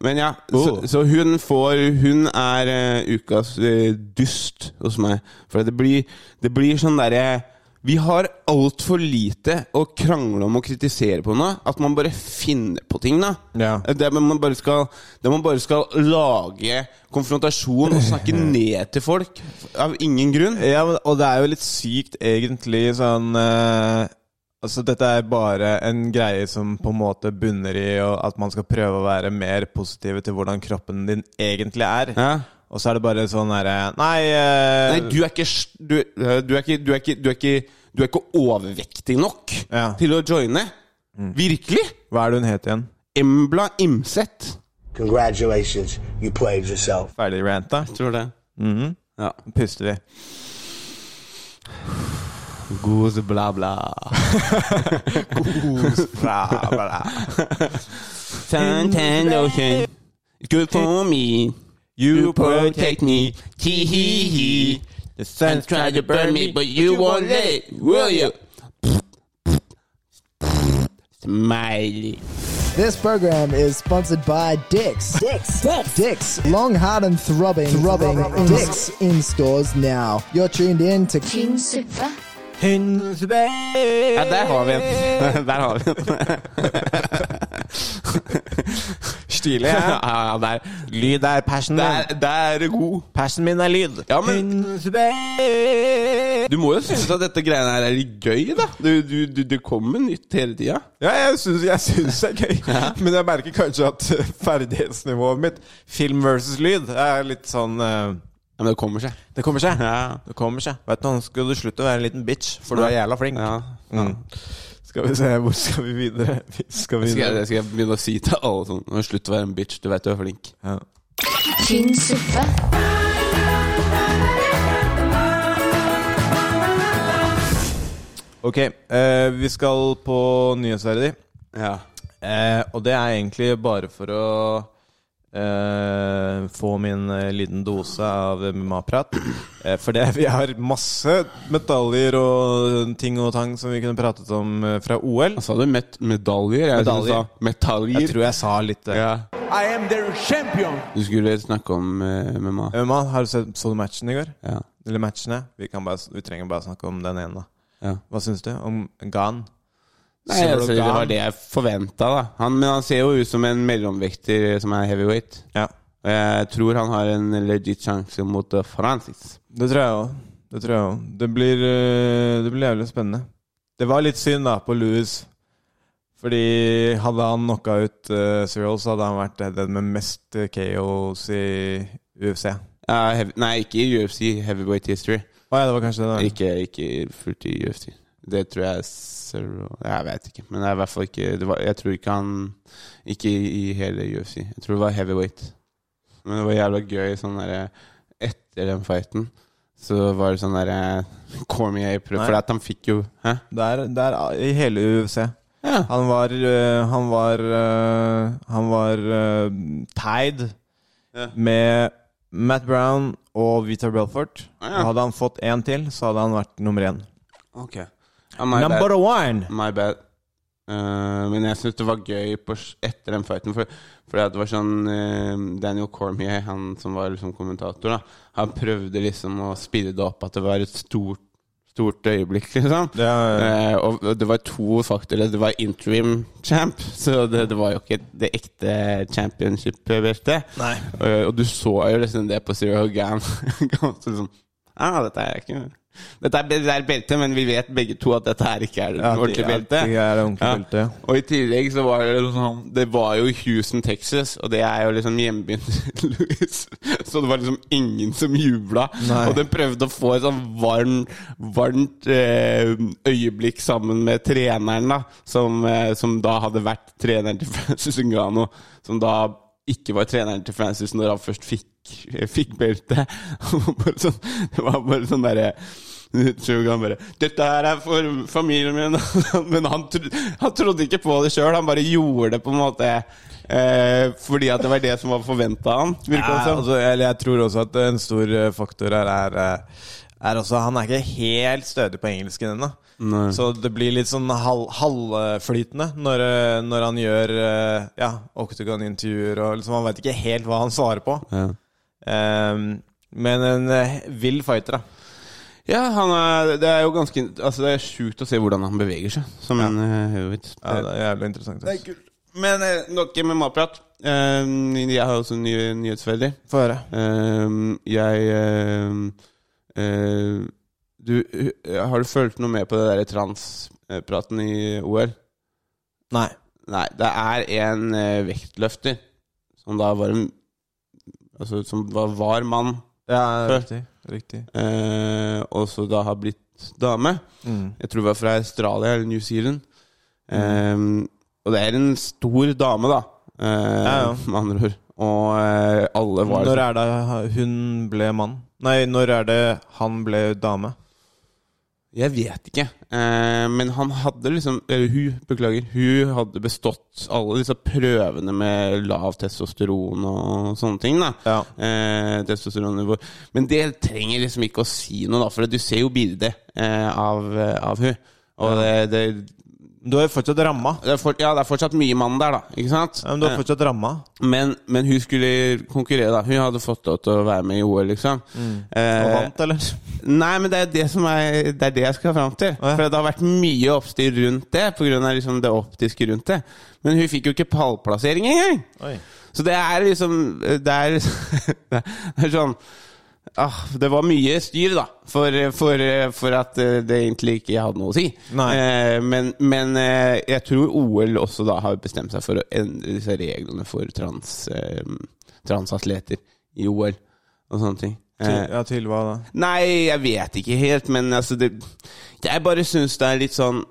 Men ja,
Oh.
så, så hun får Hun er eh, ukas eh, dyst hos meg. For det blir, det blir sånn derre Vi har altfor lite å krangle om og kritisere på nå. At man bare finner på ting, da.
Ja.
Der man bare skal, der man bare skal lage konfrontasjon og snakke ned til folk av ingen grunn.
Ja, men, og det er jo litt sykt egentlig sånn eh, Altså, dette er bare en greie som på en måte bunner i og at man skal prøve å være mer positive til hvordan kroppen din egentlig er.
Ja.
Og så er det bare sånn herre Nei, eh,
Nei, du er ikke s- Du, øh, du, er, ikke, du, er, ikke, du, er, ikke, du er ikke overvektig nok
Ja. Mm.
til å joine. Virkelig!
hva er det hun het igjen?
Embla Imset.
Congratulations, you played yourself.
Ferdig ranta?
Tror det.
Mm-hmm.
Ja.
Puster vi.
Gose bla, bla.
Bla, bla.
Suntan ocean. Good for me. You protect me. Tee-hee-hee.
The
And
sun's
try to burn me, but you won't let it, will you? Smiley.
This program is sponsored by Dix. Dix. Dix. Dix. Long, hard, and throbbing. Throbbing. Dix in stores now. You're tuned in to
Tynn suppe.
Ja, der har vi en. Der har vi en.
Stilig,
Ja,
ja.
ja, der.
Lyd er passion min.
Der, der er god.
Passion min er lyd.
Ja, men- Du må jo synes at dette greiene her er litt gøy, da. Du, du, du, det kommer nytt hele tida.
Ja, jeg syns, jeg syns det er gøy, men jeg merker kanskje at eh, ferdighetsnivået mitt, film versus lyd, er litt sånn eh,
Ja, men det kommer seg.
Det kommer seg.
Ja.
Det kommer seg. Vet du, Nå skal du slutte å være en liten bitch, for du er jævla flink.
Ja.
Mm. Skal vi se, hvor skal vi videre? Vi skal
Skal, jeg,
videre.
skal jeg begynne å si til alle sånn «Nå, Slutt å være en bitch, du vet du er flink.
Tynn suppe.
Ok, eh, vi skal på nyhetsverdig.
Ja.
Eh, og det er egentlig bare for å eh, få min eh, liten dose av MMA-prat. Eh, for det, vi har masse medaljer og ting og tang som vi kunne pratet om eh, fra OL.
Sa du met medaljer? Jeg
Medaljer.
medaljer. Sa
Jeg
metaljer.
tror jeg sa litt eh,
Ja.
I am their champion!
Du skulle snakke om eh, MMA.
MMA, har du sett, så du matchen i går?
Ja.
Eller matchene? Vi, kan bare, vi trenger bare snakke om den ene, da.
ja.
Hva syns du om Gan?
Nei, altså, det
Sologan?
var det jeg forventa, da. Han, men han ser jo ut som en mellomvekter som er heavyweight.
Ja,
Og jeg tror han har en legit sjanse mot eh, Francis.
det tror jeg òg. Det tror jeg òg. Det, blir, eh, det blir jævlig spennende. Det var litt synd, da, på Louis. Fordi hadde han knocka ut eh, Cyril, så hadde han vært eh, den med mest eh, KOs i UFC. Å
Eh, heavy, nei, ikke i UFC. Heavyweight history.
ja, det var kanskje det. da.
Ikke, ikke fullt i UFC. Det tror jeg Cyril- Jeg vet ikke. Men det er i hvert fall ikke det var, Jeg tror ikke han Ikke i hele UFC. Jeg tror det var heavyweight. Men det var jævla gøy sånn derre Etter den fighten så var det sånn derre Cormier prøv,
Nei.
For at han fikk jo Hæ?
Der, der, eh, I hele UFC.
Ja.
Han var eh, Han var eh, Han var eh, tied
Ja.
med Matt Brown og Vita Belfort.
Ah, ja.
Og hadde han fått én til, så hadde han vært nummer én.
Ok. Ja, my bad.
Number one!
My bad. Eh, men jeg syns det var gøy på, s- etter den fighten. For, fordi at det var sånn eh, Daniel Cormier, han som var liksom kommentator, da han prøvde liksom å spille det opp at det var et stort, stort øyeblikk, liksom.
Det er,
Eh, og og det var to faktorer. Det var interim champ, så det, det var jo ikke det ekte championship-beltet.
Nei.
Eh, og du så jo liksom det på Zero Gan. Ganske sånn ah, dette er ikke Dette er, det er beltet, men vi vet begge to at dette her ikke er det
Ja, det-
ordentlige
ja,
beltet.
det er det ordentlige
Ja.
beltet.
Og i tillegg så var det liksom Det var jo i Houston, Texas, og det er jo liksom hjembyen til Louis. Så det var liksom ingen som jubla.
Nei.
Og den prøvde å få et sånn varm, varmt eh, øyeblikk sammen med treneren, da, som, eh, som da hadde vært treneren til Francis Ngannou, som da ikke var treneren til Francis når han først fikk, eh, fikk beltet. Han var bare sånn, det var bare sånn derre Tror han bare 'Dette her er for familien min', men han, tro, han trodde ikke på det sjøl. Han bare gjorde det på en måte eh, fordi at det var det som var forventa han. Virker det
Ja,
som.
altså, eller jeg tror også at en stor eh, faktor her er, eh, er også Han er ikke helt stødig på engelsken ennå. Så det blir litt sånn hal- halvflytende når, eh, når han gjør eh, ja, Octagon-intervjuer og liksom Han veit ikke helt hva han svarer på. Ehm, men en eh, vill fighter, da.
Ja, han er, det er jo ganske Altså Det er sjukt å se hvordan han beveger seg. Som en eh, heavyweight.
Ja, det er jævlig interessant. ass.
Men eh, nok med matprat. Eh, jeg har også nye nyhetsfeller.
Få høre.
Ehm, jeg ehm, eh, du, eh, Har du fulgt noe med på det der transpraten i OL?
Nei.
Nei, det er en eh, vektløfter som da var en Altså som var, var mann,
Ja,
Før.
riktig. Riktig.
eh, og så da har blitt dame.
Mm.
Jeg tror det var fra Australia eller New Zealand. Ehm, og det er en stor dame, da. eh,
Ja, ja.
Med andre ord. Og eh, alle var
Når er det hun ble mann? Nei, når er det han ble dame?
Jeg vet ikke. Eh, men han hadde liksom Eller hun, beklager. Hun hadde bestått alle disse prøvene med lav testosteron og sånne ting. da
Ja.
eh, testosteronnivå. Men det trenger liksom ikke å si noe, da, for du ser jo bildet eh, av, eh, av hun. Og det, det,
Du er jo fortsatt ramma.
det, er for, ja, det er fortsatt mye mann der, da. Ikke sant?
Ja, men du er fortsatt ramma.
Eh, men, men hun skulle konkurrere, da. Hun hadde fått lov til å være med i OL, liksom. Eh,
Mm. Og vant, eller?
Nei, men det er det, som er, det, er det jeg skal fram til.
ja.
For det har vært mye oppstyr rundt det, pga. Liksom det optiske rundt det. Men hun fikk jo ikke pallplassering engang!
Oi.
Så det er liksom Det er, det er sånn ah, Det var mye styr, da, for, for, for at eh, det egentlig ikke hadde noe å si.
Nei.
Eh, men men eh, jeg tror OL også da har bestemt seg for å endre disse reglene for trans, eh, transatleter i OL og sånne ting. Eh,
Til, ja, til hva da?
Nei, jeg vet ikke helt, men altså det, Jeg bare syns det er litt sånn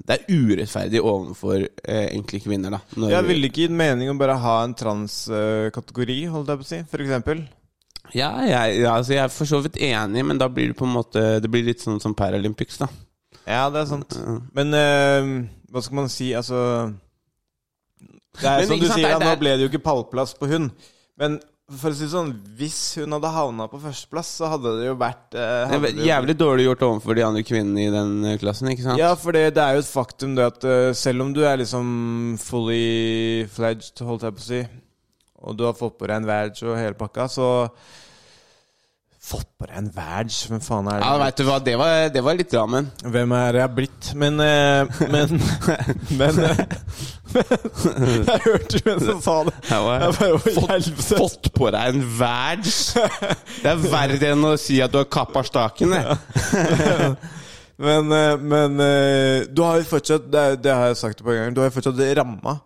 Det er urettferdig overfor eh, enkle kvinner, da. Når,
Jeg ville ikke gitt mening å bare ha en transkategori, holdt jeg på å si, for eksempel.
ja, jeg, ja, altså jeg er for så vidt enig, men da blir det på en måte Det blir litt sånn som Paralympics, da.
Ja, det er sant. Men eh, hva skal man si, altså Det er
Men
som
ikke
du
sant,
sier,
det er-
ja, nå
det er-
ble det jo ikke pallplass på hun. Men for å si det sånn, hvis hun hadde havna på førsteplass, så hadde det jo vært
Det
eh, hadde
er
det jo-
jævlig dårlig gjort overfor de andre kvinnene i den eh, klassen, ikke sant?
Ja, for det, det er jo et faktum det at eh, selv om du er liksom fully fledged, holdt jeg på å si, og du har fått på deg en verge og hele pakka, så Fått på deg en verge? Hvem faen er det?
Ja, vet du hva, det var, det var litt rammen.
Hvem er jeg blitt? Men eh, Men Men, eh, men Jeg hørte jo en som sa det.
Jeg var-
Jeg bare, «Å,
fått,
helvete».
fått på deg en verge! Det er verre enn å si at du har kappa staken, det.
Men, eh, men eh, du har jo fortsatt Det, er- det har jeg sagt et par ganger. Du har jo fortsatt ramma.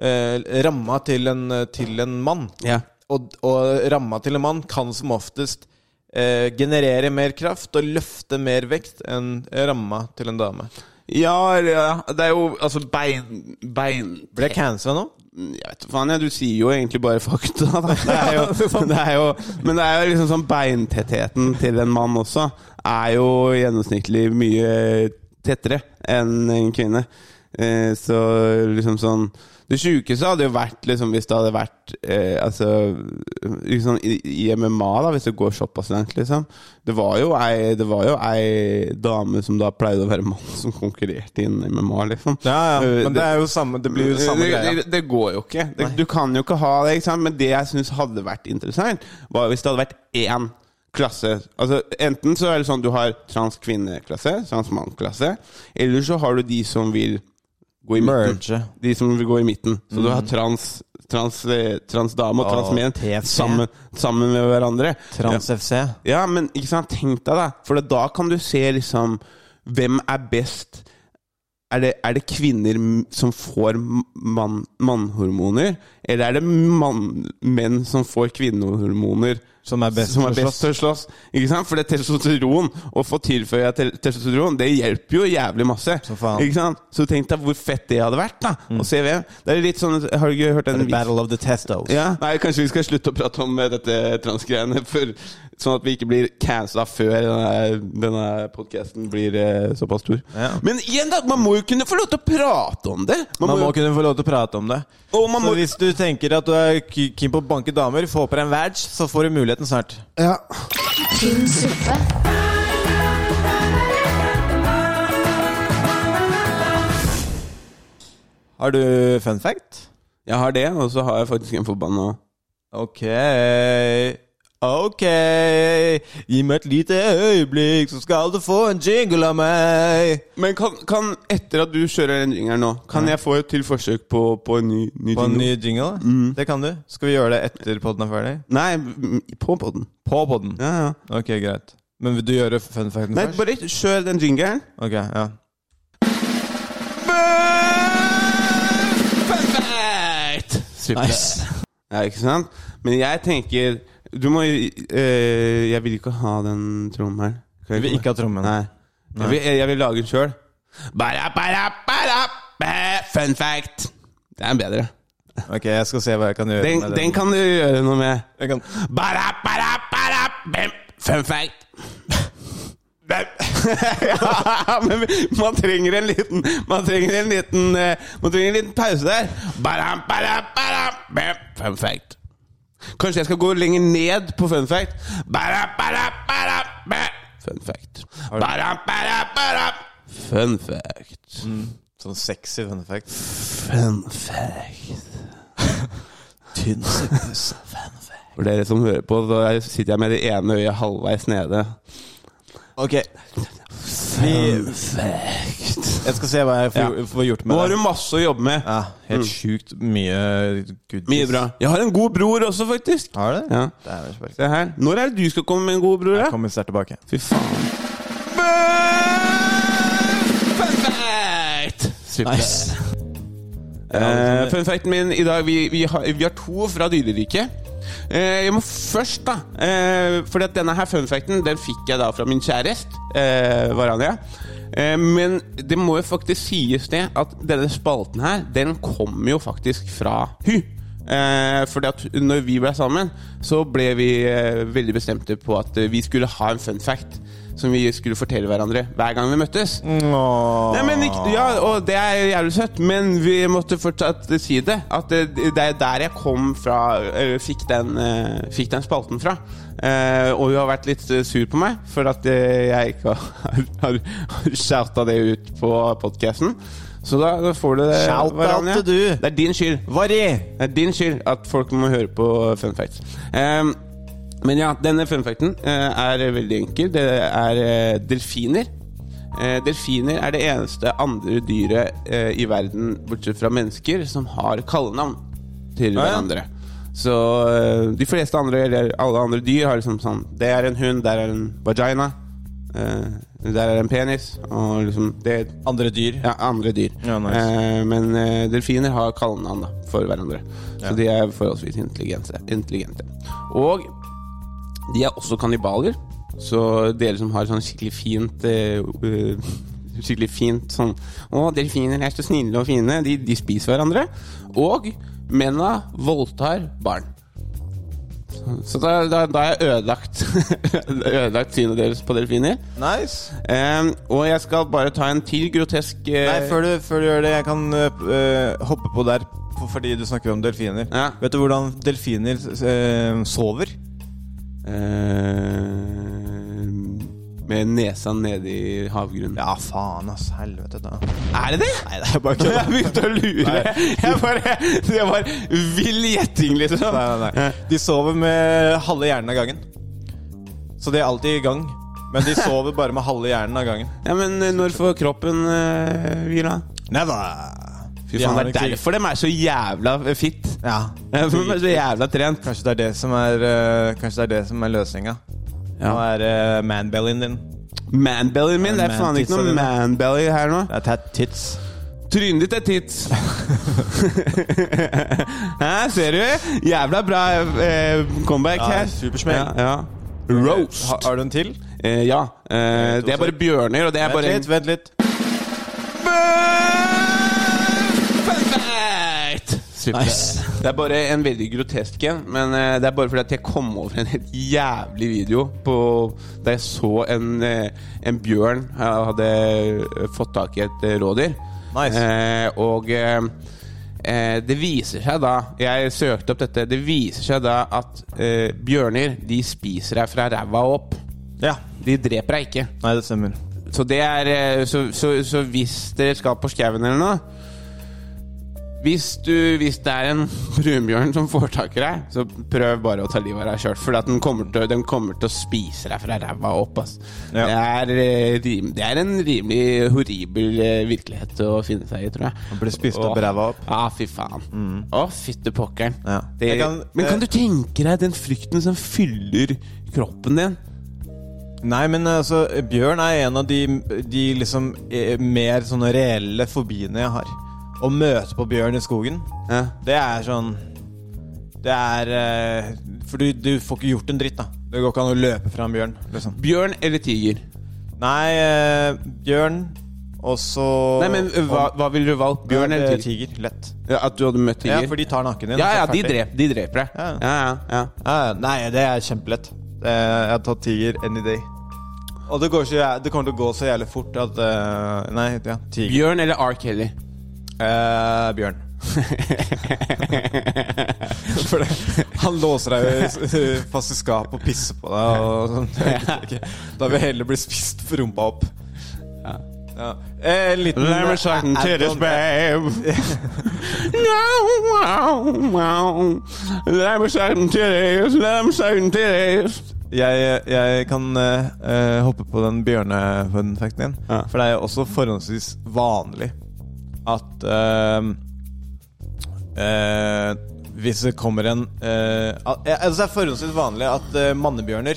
Eh, ramma til en, eh, til en mann.
Ja.
Og, og ramma til en mann kan som oftest eh, generere mer kraft og løfte mer vekt enn ramma til en dame.
Ja, eller, ja, det er jo altså bein... bein
Ble jeg cancela nå?
Jeg vet ikke, faen, ja, du sier jo egentlig bare fakta. Da. Det er jo, det er jo, men det er jo liksom sånn beintettheten til en mann også er jo gjennomsnittlig mye tettere enn en kvinne. Eh, så liksom sånn Det sjukeste hadde jo vært liksom, hvis det hadde vært eh, altså, liksom, i, i MMA, da, hvis det går såpass langt, liksom. Det var, jo ei, det var jo ei dame som da pleide å være mann, som konkurrerte innen MMA, liksom.
Ja, ja.
Eh,
Men det er jo samme Det blir jo samme
det,
greia.
det, det går jo ikke. Det, du kan jo ikke ha det. Ikke sant? Men det jeg syns hadde vært interessant, var hvis det hadde vært én klasse. Altså Enten så er det sånn du har trans kvinneklasse, trans mann-klasse, eller så har du de som vil gå i midten.
Merge. Mm.
De som vil gå i midten. Så du har trans Trans, eh, trans dame og
Åh,
trans menn
TFC.
sammen, sammen med hverandre. ja.
Trans-FC.
ja, men ikke sant, tenk deg det. For da kan du se liksom Hvem er best? Er det, er det kvinner m- som får mann- mannhormoner, eller er det mann, menn som får kvinnehormoner?
Som er best
som er
til å
best til å slåss. Ikke sant? For det er testosteron, å få tilføya te- testosteron, det hjelper jo jævlig masse.
Så faen. Mm.
Ikke sant? Så tenk deg hvor fett det hadde vært, da. Å se hvem. Det er litt sånn Har du ikke hørt den
The Battle of the Testos.
ja. Nei, kanskje vi skal slutte å prate om eh, dette transgreiene, for- sånn at vi ikke blir cancela før denne, denne podkasten blir eh, såpass stor.
Ja.
Men igjen, da! Man må jo kunne få lov til å prate om det!
Man må
jo-
kunne få lov til å prate om det.
Og man
Så
må-
hvis du tenker at du er k- keen på å banke damer, få på deg en badge, så får du muligheten snart.
Ja.
tynn suppe,
Har du fun fact?
Jeg har det, og så har jeg faktisk en forbanna
Ok Ok Gi meg et lite øyeblikk, så skal du få en jingle av meg.
Men kan, kan, etter at du kjører den ringeren nå, kan jeg få et til forsøk på, på en ny, ny
På en
jingle?
ny jingle? da?
Mm.
Det kan du. Skal vi gjøre det etter podden er ferdig?
Nei, m- på poden.
På podden?
Ja, ja.
Ok, greit. Men vil du gjøre fun facten
Nei,
først?
bare kjør den jingeren.
Ok, ja Nice.
Ja, ikke sant? Men jeg tenker Du må eh, Jeg vil ikke ha den trommen her. Kan jeg
Du vil ikke ha trommen?
Nei. Jeg, vil, jeg vil lage den sjøl. Fun fact! Det er en bedre.
Ok, jeg skal se hva jeg kan gjøre
Den,
med
den kan du gjøre noe med.
Jeg kan-
Bara, bara, bara, bem, fun fact. Bem. ja, men man trenger en liten Man trenger en liten eh, Man trenger en liten pause der. Bara, bara, bara, bem, fun fact. Kanskje jeg skal gå lenger ned på fun fact. Bara, bara, bara, bem, fun fact. Bara, bara, bara, fun fact.
Sånn sexy fun fact
Fun fact.
Tynn suppe fun fact
For dere som hører på, så sitter jeg med det ene øyet halvveis nede.
Ok vi, Jeg skal se hva jeg får,
Ja.
får gjort med
Nå har
det.
du masse å jobbe med.
ja, Helt sjukt mye goodies
Mye bra. Jeg har en god bror også, faktisk.
Har du det?
Ja.
Det er vel så bra.
Se her. Når er det du skal komme med en god bror?
Jeg
da?
kommer snart tilbake
Fy faen. Fun fact!
Nice
Eh, fun facten min i dag Vi, vi, har, vi har to fra dyreriket. Eh, jeg må først, da eh, Fordi at denne her fun facten Den fikk jeg da fra min kjæreste, eh, Varania. Eh, men det må jo faktisk sies det at denne spalten her, den kommer jo faktisk fra hun. Eh, fordi at når vi ble sammen, så ble vi eh, veldig bestemte på at eh, vi skulle ha en fun fact som vi skulle fortelle hverandre hver gang vi møttes. Nei, men ikke, ja, og det er jævlig søtt, men vi måtte fortsatt si det. At det, det er der jeg kom fra eh, fikk, den, eh, fikk den spalten fra. Eh, og hun har vært litt eh, sur på meg for at eh, jeg ikke har, har, har shouta det ut på podkasten. Så da, da får du det.
Shout-out
Varanja.
til du.
Det er din skyld.
Vari
Det er din skyld at folk må høre på eh, fun facts. Ehm, men ja, denne fun facten eh, er veldig enkel. Det er eh, delfiner. Eh, delfiner er det eneste andre dyret eh, i verden, bortsett fra mennesker, som har kallenavn til
ja.
hverandre. Så eh, de fleste andre, eller alle andre dyr, har liksom sånn Det er en hund, der er en vagina. Eh, Der er det en penis, og liksom det er
Andre dyr.
ja, andre dyr.
Ja, nice.
Eh, men eh, delfiner har kallenavn da, for hverandre. Så de er forholdsvis intelligente. intelligente. Og de er også kannibaler. Så dere som har sånn skikkelig fint eh, eh, Skikkelig fint sånn Å, delfiner er så snille og fine. De, de spiser hverandre. Og menna voldtar barn. Så- Så da, da, da har jeg ødelagt, ødelagt synet deres på delfiner.
Nice.
Ehm, og jeg skal bare ta en til grotesk eh,
Nei, før du, før du gjør det, jeg kan øh, øh, hoppe på der for- fordi du snakker om delfiner.
Ja.
Vet du hvordan delfiner øh, sover?
Ehm, Eh, Med nesa nede i havgrunnen.
Ja, faen, ass. Helvete, da.
Er det det?! Nei, det er bare kødd. Jeg begynte å lure. Jeg bare, det var vill gjetting, liksom.
Nei, nei, nei. De sover med halve hjernen av gangen. Så de er alltid i gang. Men de sover bare med halve hjernen av gangen.
Ja, Men eh, når får kroppen eh, hvile? Fy
De
faen, det
har
er
ikke-
derfor de er så jævla fit.
Ja.
De er så jævla trent.
Kanskje det er det som er, øh, kanskje det er, det som er løsninga. Nå
Ja.
er øh, manbellyen din.
Manbellyen min? Det er faen ikke noe manbelly her nå.
Det er tat tits.
Trynet ditt er tits. Hæ, ser du? Jævla bra eh, comeback
Ja,
her.
supersmell.
Ja, ja. Roast.
Har, har du en til?
Eh, ja. Eh, det er bare bjørner, og det er
Vent
bare
litt, vent litt.
Fun fact! Super.
Nice.
Det er bare en veldig grotesk en, men eh, det er bare fordi at jeg kom over en helt jævlig video på, der jeg så en, eh, en bjørn eh, hadde fått tak i et eh, rådyr.
Nice.
Eh, og eh, eh, det viser seg da Jeg søkte opp dette. Det viser seg da at eh, bjørner de spiser deg fra ræva opp.
Ja.
De dreper deg ikke.
Nei, det stemmer.
Så det er eh, Så, så, så hvis dere skal på skauen eller noe hvis, du, hvis det er en brunbjørn som får tak i deg, så prøv bare å ta livet av deg sjøl. For at den, kommer til, den kommer til å spise deg fra ræva opp. Ass.
Ja.
Det, er, eh, rim, det er en rimelig horribel eh, virkelighet å finne seg i, tror jeg.
Å bli spist opp
Åh.
ræva opp. Mm.
Ja, fy faen. Å, fytte pokkeren.
Ja.
Det,
Jeg kan-
men
eh,
kan du tenke deg den frykten som fyller kroppen din?
Nei, men altså, bjørn er en av de, de liksom eh, mer sånne reelle fobiene jeg har. Å møte på bjørn i skogen,
Ja.
det er sånn Det er eh, For du, du får ikke gjort en dritt, da. Det går ikke an å løpe fra en bjørn, liksom.
Bjørn eller tiger?
Nei, eh, bjørn, og så
Nei, men ø, hva, hva ville du valgt? Bjørn eller tiger?
tiger? Lett.
Ja, at du hadde møtt
Ja,
tiger?
for de tar nakken din.
ja,
og så
ja,
er
de,
ferdig.
drep, de dreper deg.
Ja.
Ja, ja, ja.
Ja, nei, det er kjempelett. Eh, Jeg har tatt tiger any day. Og det, går så, jæ- det kommer til å gå så jævlig fort at eh, Nei, ja, tiger.
Bjørn eller R. Kelly?
Eh, bjørn. For det, han låser deg jo i s- eh, fast i skapet og pisser på deg. Og sånn. Det er ikke- Da vil jeg heller bli spist for rumpa opp. Ja. Eh, en liten
Let me suck and titties, babe. no, wow, wow. Let me suck and titties, let me suck and titties.
jeg, jeg kan eh, eh, hoppe på den bjørnefunfacten din.
Ja.
For det er jo også forholdsvis vanlig at eh, eh, Hvis det kommer en eh, al- eh, Altså Det er forholdsvis vanlig at eh, mannebjørner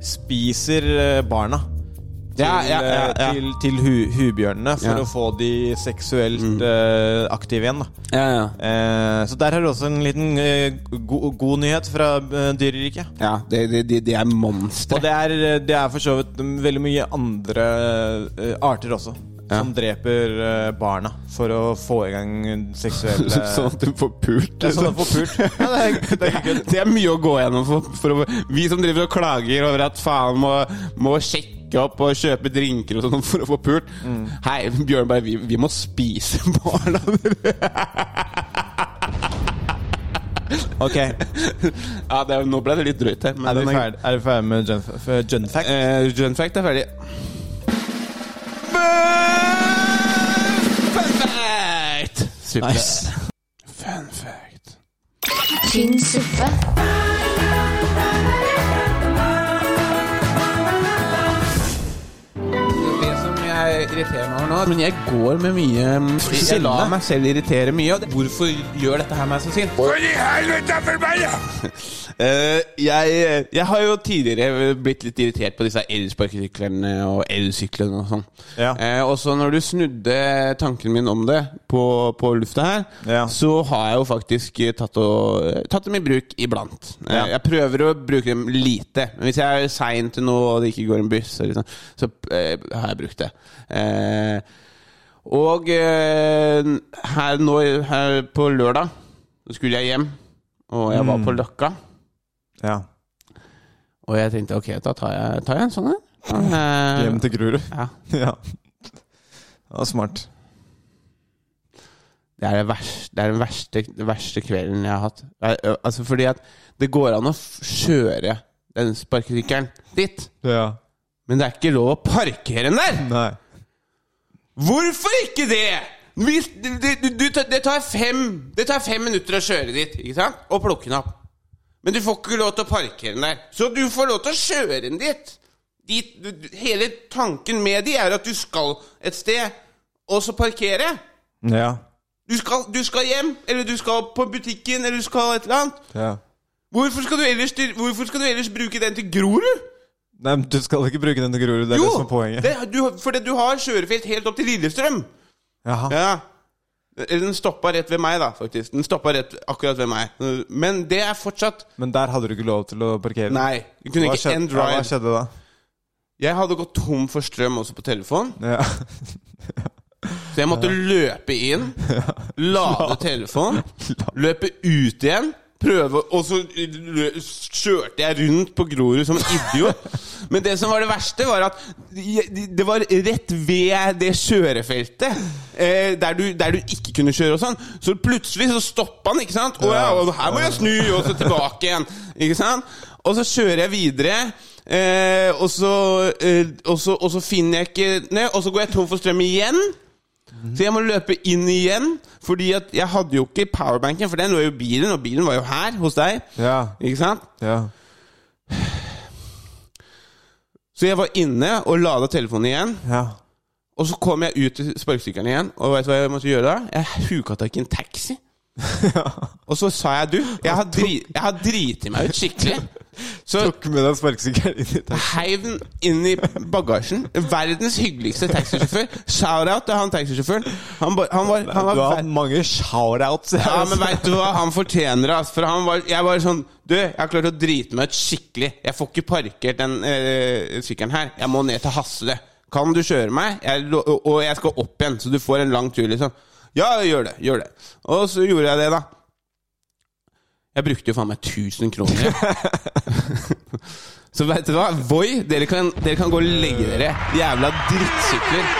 spiser eh, barna. Til,
Ja, ja, ja,
eh,
ja.
til, til hu, hubjørnene for
Ja. Mm.
å få de seksuelt eh, aktive igjen. Da.
Ja, ja.
Eh, så der har du også en liten eh, go god nyhet fra eh, dyreriket.
ja det, det, det, det er
Og
monstre.
det er, det er for så vidt veldig mye andre eh, arter også.
Ja.
Som dreper eh, barna for å få i gang seksuelle
Sånn at du får pult.
Det er sånn
liksom.
å få pult. Ja, det er, det er ikke kødd.
Det er mye å gå gjennom for, for å, Vi som driver og klager over at faen må, må sjekke opp og kjøpe drinker og sånn for å få pult. Hei, Bjørnberg, vi, vi må spise barna dere.
Ok,
Ja, det, er- nå ble det litt drøyt her. men
er vi
den er-
ferdig, er vi ferdig med gen, for gen fact?
Eh, John Fact er ferdig. Fun fact! Super.
Nice.
Fun fact.
Tynn suppe.
Det som jeg, irriterende over nå, men jeg går med mye mm, Jeg lar meg selv irritere mye. Og det, hvorfor gjør dette her meg så sint? Hvor i helvete forbanna?! Eh, jeg, jeg har jo tidligere blitt litt irritert på disse elsparkesyklene og elsyklene og sånn.
Ja.
Eh, og så når du snudde tanken min om det på, på lufta her,
Ja.
så har jeg jo faktisk eh, tatt, og, eh, tatt dem i bruk iblant. Eh,
Ja.
Jeg prøver å bruke dem lite. Men hvis jeg er sein til noe og det ikke går en buss, eller sånn, så eh, har jeg brukt det. Eh, og eh, her nå her på lørdag så skulle jeg hjem, og jeg var
Mm.
på Løkka.
Ja.
Og jeg tenkte ok, da tar jeg, tar jeg en sånn en. Eh,
Hjem til Grorud.
ja.
ja. Det var smart.
Det er, det vers- det er den verste, den verste kvelden jeg har hatt. Jeg- ø, Altså Fordi at det går an å f- kjøre den sparkesykkelen dit,
Ja.
men det er ikke lov å parkere den der!
Nei.
Hvorfor ikke det?! Hvis, det, det- du, det, tar fem, det tar fem minutter å kjøre dit ikke sant? og plukke den opp. Men du får ikke lov til å parkere den der. Så du får lov til å kjøre den dit. dit du, du- hele tanken med de er at du skal et sted, og så parkere.
Ja.
Du skal, du skal hjem, eller du skal på butikken, eller du skal et eller annet.
ja.
Hvorfor skal du ellers, til, hvorfor skal du ellers bruke den til Grorud?
Nei, men du skal ikke bruke den til Grorud. Det er det som er poenget.
det- du, fordi du har kjørefelt helt opp til Lillestrøm.
Jaha.
Ja. Eller Den stoppa rett ved meg, da, faktisk. Den stoppa rett akkurat ved meg. Men det er fortsatt
Men der hadde du ikke lov til å parkere?
Nei. Du kunne
Hva
ikke
skjedde,
end
ja, hva
ride.
skjedde da?
Jeg hadde gått tom for strøm også på telefonen,
Ja.
så jeg måtte løpe inn, lade telefonen, løpe ut igjen. Prøve, og så lø- kjørte jeg rundt på Grorud som en idiot. Men det som var det verste, var at jeg- det var rett ved det kjørefeltet. Eh, der, du, der du ikke kunne kjøre og sånn. Så plutselig så stoppa han, ikke sant. Og, ja, og her må jeg snu, og så tilbake igjen. Ikke sant? Og så kjører jeg videre. Eh, og, så, eh, og, så, og så finner jeg ikke ned, og så går jeg tom for strøm igjen. Så jeg må løpe inn igjen, fordi at jeg hadde jo ikke powerbanken, for den lå jo i bilen, og bilen var jo her hos deg.
Ja.
Ikke sant?
ja.
Så jeg var inne og lada telefonen igjen,
ja.
og så kom jeg ut til sparkesykkelen igjen, og vet du hva jeg måtte gjøre da? Jeg huka tak i en taxi. Og så sa jeg du, jeg har, dri jeg har driti meg ut skikkelig. Så
Tok med deg sparkesykkelen inn i taxien.
heiv den inn i bagasjen. Verdens hyggeligste taxisjåfør. Shout-out til han taxisjåføren. Han, ba- han var, han
Du
var
har hatt mange shoutouts.
Ja, men veit du hva? Han fortjener det. ass. For han var, jeg var sånn Du, jeg har klart å drite meg ut skikkelig. Jeg får ikke parkert den eh, sykkelen her. Jeg må ned til Hasle. Kan du kjøre meg? Jeg, lo- og og jeg skal opp igjen, så du får en lang tur, liksom. Ja, gjør det. Gjør det. Og så gjorde jeg det, da. Jeg brukte jo faen meg 1000 kroner. så veit du hva? Voi, dere kan, dere kan gå og legge dere. Jævla drittsykler.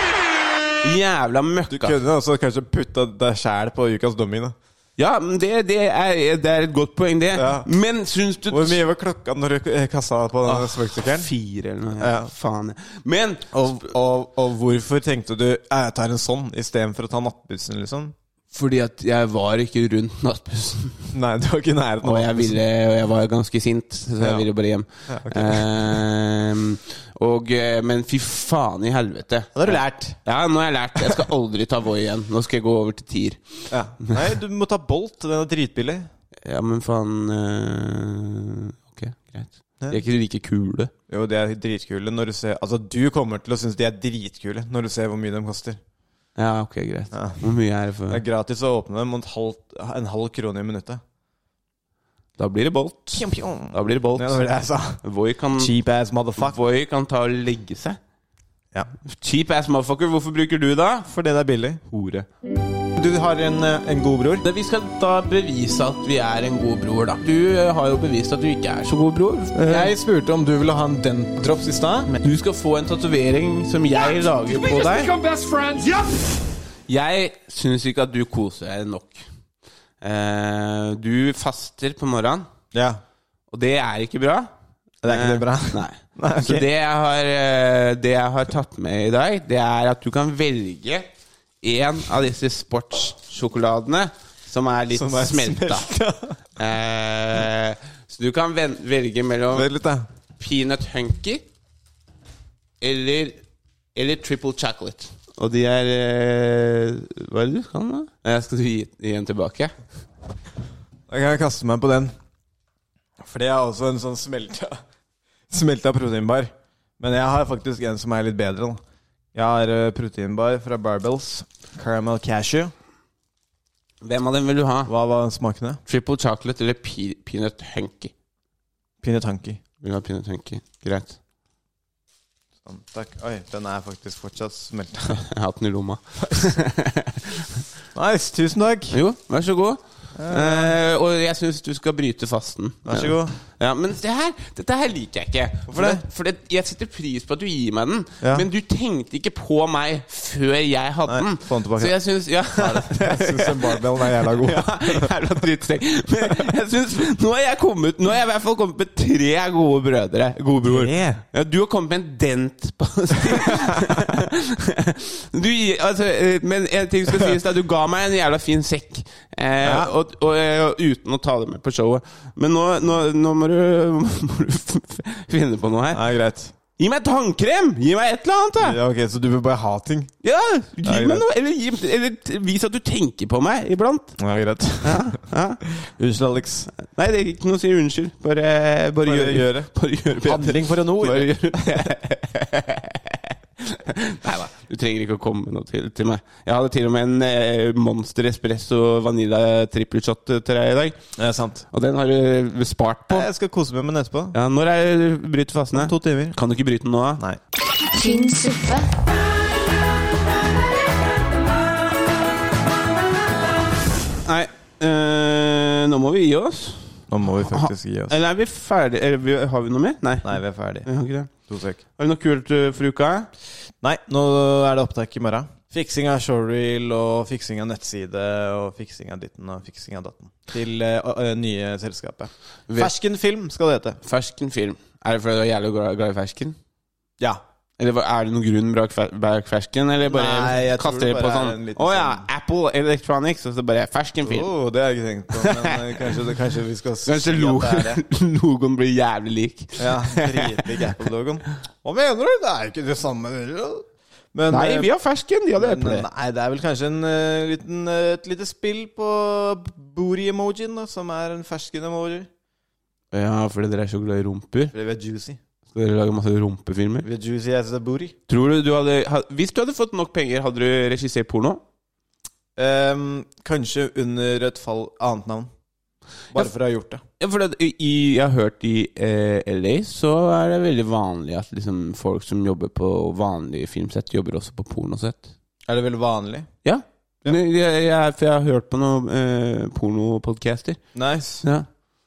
Jævla
Du
møkka.
kunne også kanskje putta deg sjæl på ukas domino.
Ja, men det, det, er, det er et godt poeng, det.
Ja.
Men syns du
Hvor mye var klokka når du eh, kassa på den
Ah,
sparkesykkelen?
Fire eller noe.
Ja.
Faen. Men
Og, og, og hvorfor tenkte du «Eh, jeg tar en sånn istedenfor å ta nattbussen, liksom?
fordi at jeg var ikke rundt nattbussen,
Nei, du var ikke i nærheten
og
av
jeg, ville, og jeg var ganske sint, så jeg
Ja.
ville bare hjem.
ok.
Ehm, og, eh, men fy faen i helvete.
Da har du lært.
Ja, nå har jeg lært. Jeg skal aldri ta Voi igjen. Nå skal jeg gå over til Tier.
Ja. Nei, du må ta Bolt. Den er dritbillig.
Ja, men faen eh, Ok, greit. De er ikke like kule.
Jo, de er dritkule når du ser Altså, du kommer til å synes de er dritkule når du ser hvor mye de koster.
Ja, ok, greit.
Ja.
Hvor mye er det for
Det er gratis å åpne dem og en halv, en halv krone i minuttet.
Da blir det Bolt.
Pjom, pjom.
Da blir det Bolt.
Ja, det var det jeg sa.
Voi kan,
Cheap ass motherfucker.
Voi kan ta og legge seg.
Ja.
Cheap ass motherfucker, hvorfor bruker du da?
Fordi det er billig.
Hore.
Du har en, eh, en god bror.
Da, vi skal da bevise at vi er en god bror, da. Du eh, har jo bevist at du ikke er så god bror.
Eh, Jeg spurte om du ville ha en dentdrops i stad.
Du skal få en tatovering som jeg lager på deg. Jeg syns ikke at du koser deg nok. Eh, du faster på morgenen,
Ja.
og det er ikke bra.
Det er ikke det bra?
Eh, Nei.
Eh, Nei, ok.
Så det jeg, har, eh, det jeg har tatt med i dag, det er at du kan velge en av disse sportssjokoladene som er litt
Som er
smelta. eh, så du kan ven velge mellom
Vent litt, da.
peanut hunky eller, eller triple chocolate. Og de er eh, Hva er det du kan, da? Nei, Jeg skal gi, gi en tilbake.
Da kan jeg kaste meg på den. For det er også en sånn smelta Smelta proteinbar. Men jeg har faktisk en som er litt bedre. Da. Jeg har eh, proteinbar fra Barbells. Caramel cashew.
Hvem av dem vil du ha?
Hva var smakene?
Triple chocolate eller pe peanut hunky?
Peanut hunky.
Vil du ha peanut hunky? Greit.
Sånn, takk. Oi, den er faktisk fortsatt smelta.
Jeg har hatt den i lomma.
Nice, tusen takk.
Jo, vær så god. Eh, og jeg syns du skal bryte fasten.
Vær så god.
Ja, men det her, dette her liker jeg ikke. For,
det?
det, for det, jeg setter pris på at du gir meg den,
Ja.
men du tenkte ikke på meg før jeg hadde
Nei,
den.
få den tilbake.
Så jeg syns Ja.
Jeg syns den barbellen er jævla god.
Ja, jævla drittsekk. Men jeg synes, nå har jeg kommet Nå har jeg i hvert fall kommet med tre gode brødre. Gode bror.
Tre?
Ja, du har kommet med en dent på du, gir- altså, eh, Men en ting skal sies, da. Du ga meg en jævla fin sekk. Eh, og, og, eh, uten å ta det med på showet. Men nå, nå, nå må du, må du finne på noe her.
Nei, greit.
Gi meg tannkrem! Gi meg et eller annet, da!
Ja, ok, Så du vil bare ha ting?
Ja, gi
Ja,
meg
greit.
noe! Eller, gi, eller t- vis at du tenker på meg iblant.
Ja, greit. Unnskyld, Alex.
Nei, det er ikke noe å si unnskyld. Bare, bare, gjør,
gjør
det.
det.
Bare gjør bedre.
Handling for en ord.
Bare gjør Nei da, du trenger ikke å komme med noe til, til meg. Jeg hadde til og med en eh, Monster Espresso Vanilla Triple Shot til deg i dag.
Det er sant.
Og den har du eh, spart på.
Jeg skal kose meg med den etterpå.
Ja, når er det bryt fasene?
To timer.
Kan du ikke bryte den nå, da?
Nei.
tynn suppe,
Nei. eh, nå må vi gi oss.
Nå må vi faktisk gi oss.
Eller er vi ferdige? Eller vi- har vi noe mer? Nei.
Nei, vi er ferdig.
Vi har ikke det.
To sek.
Har vi noe kult eh, for uka?
Nei, nå er det opptak i morgen. Fiksing av showreel og fiksing av nettside og fiksing av ditten og fiksing av datten. Til eh, å- eh, nye selskapet.
Vi-
Fersken film skal det hete.
Fersken film. Er det fordi du er jævlig glad glad i fersken?
Ja.
Eller hva- er det noen grunn bak fe- bak fersken? Eller bare
Nei, jeg tror
kaster
det
det på
bare er
sånn
en
Å
liten
ja,
sånn-
Apple Electronics, og så bare fersken film.
Oh, det har jeg ikke tenkt på, men eh, kanskje, det, kanskje vi skal
Kanskje
at
lo
det er det.
logoen blir jævlig lik.
Ja, Dritlig Apple-logoen. Hva mener du? Det er jo ikke det samme. Men,
Nei,
eh,
vi har fersken, de hadde
Men, eh,
eple.
Nei, det er vel kanskje en, eh, liten, eh, et lite spill på booty-emojien, da, som er en fersken-emoji.
Ja, fordi dere er så glad i rumper.
Fordi vi er juicy.
Skal dere lage masse rumpefilmer?
Vi er juicy as a booty.
Tror du du hadde ha- Hvis du hadde fått nok penger, hadde du regissert porno?
Ehm, kanskje under et fall annet navn. Bare for å ha gjort det.
Ja, for det, i, jeg har hørt i eh, LA så er det veldig vanlig at liksom, folk som jobber på vanlige filmsett, jobber også på pornosett.
Er det veldig vanlig?
Ja. Men Jeg, jeg, for jeg har hørt på noen eh, pornopodcaster.
Nice.
Ja.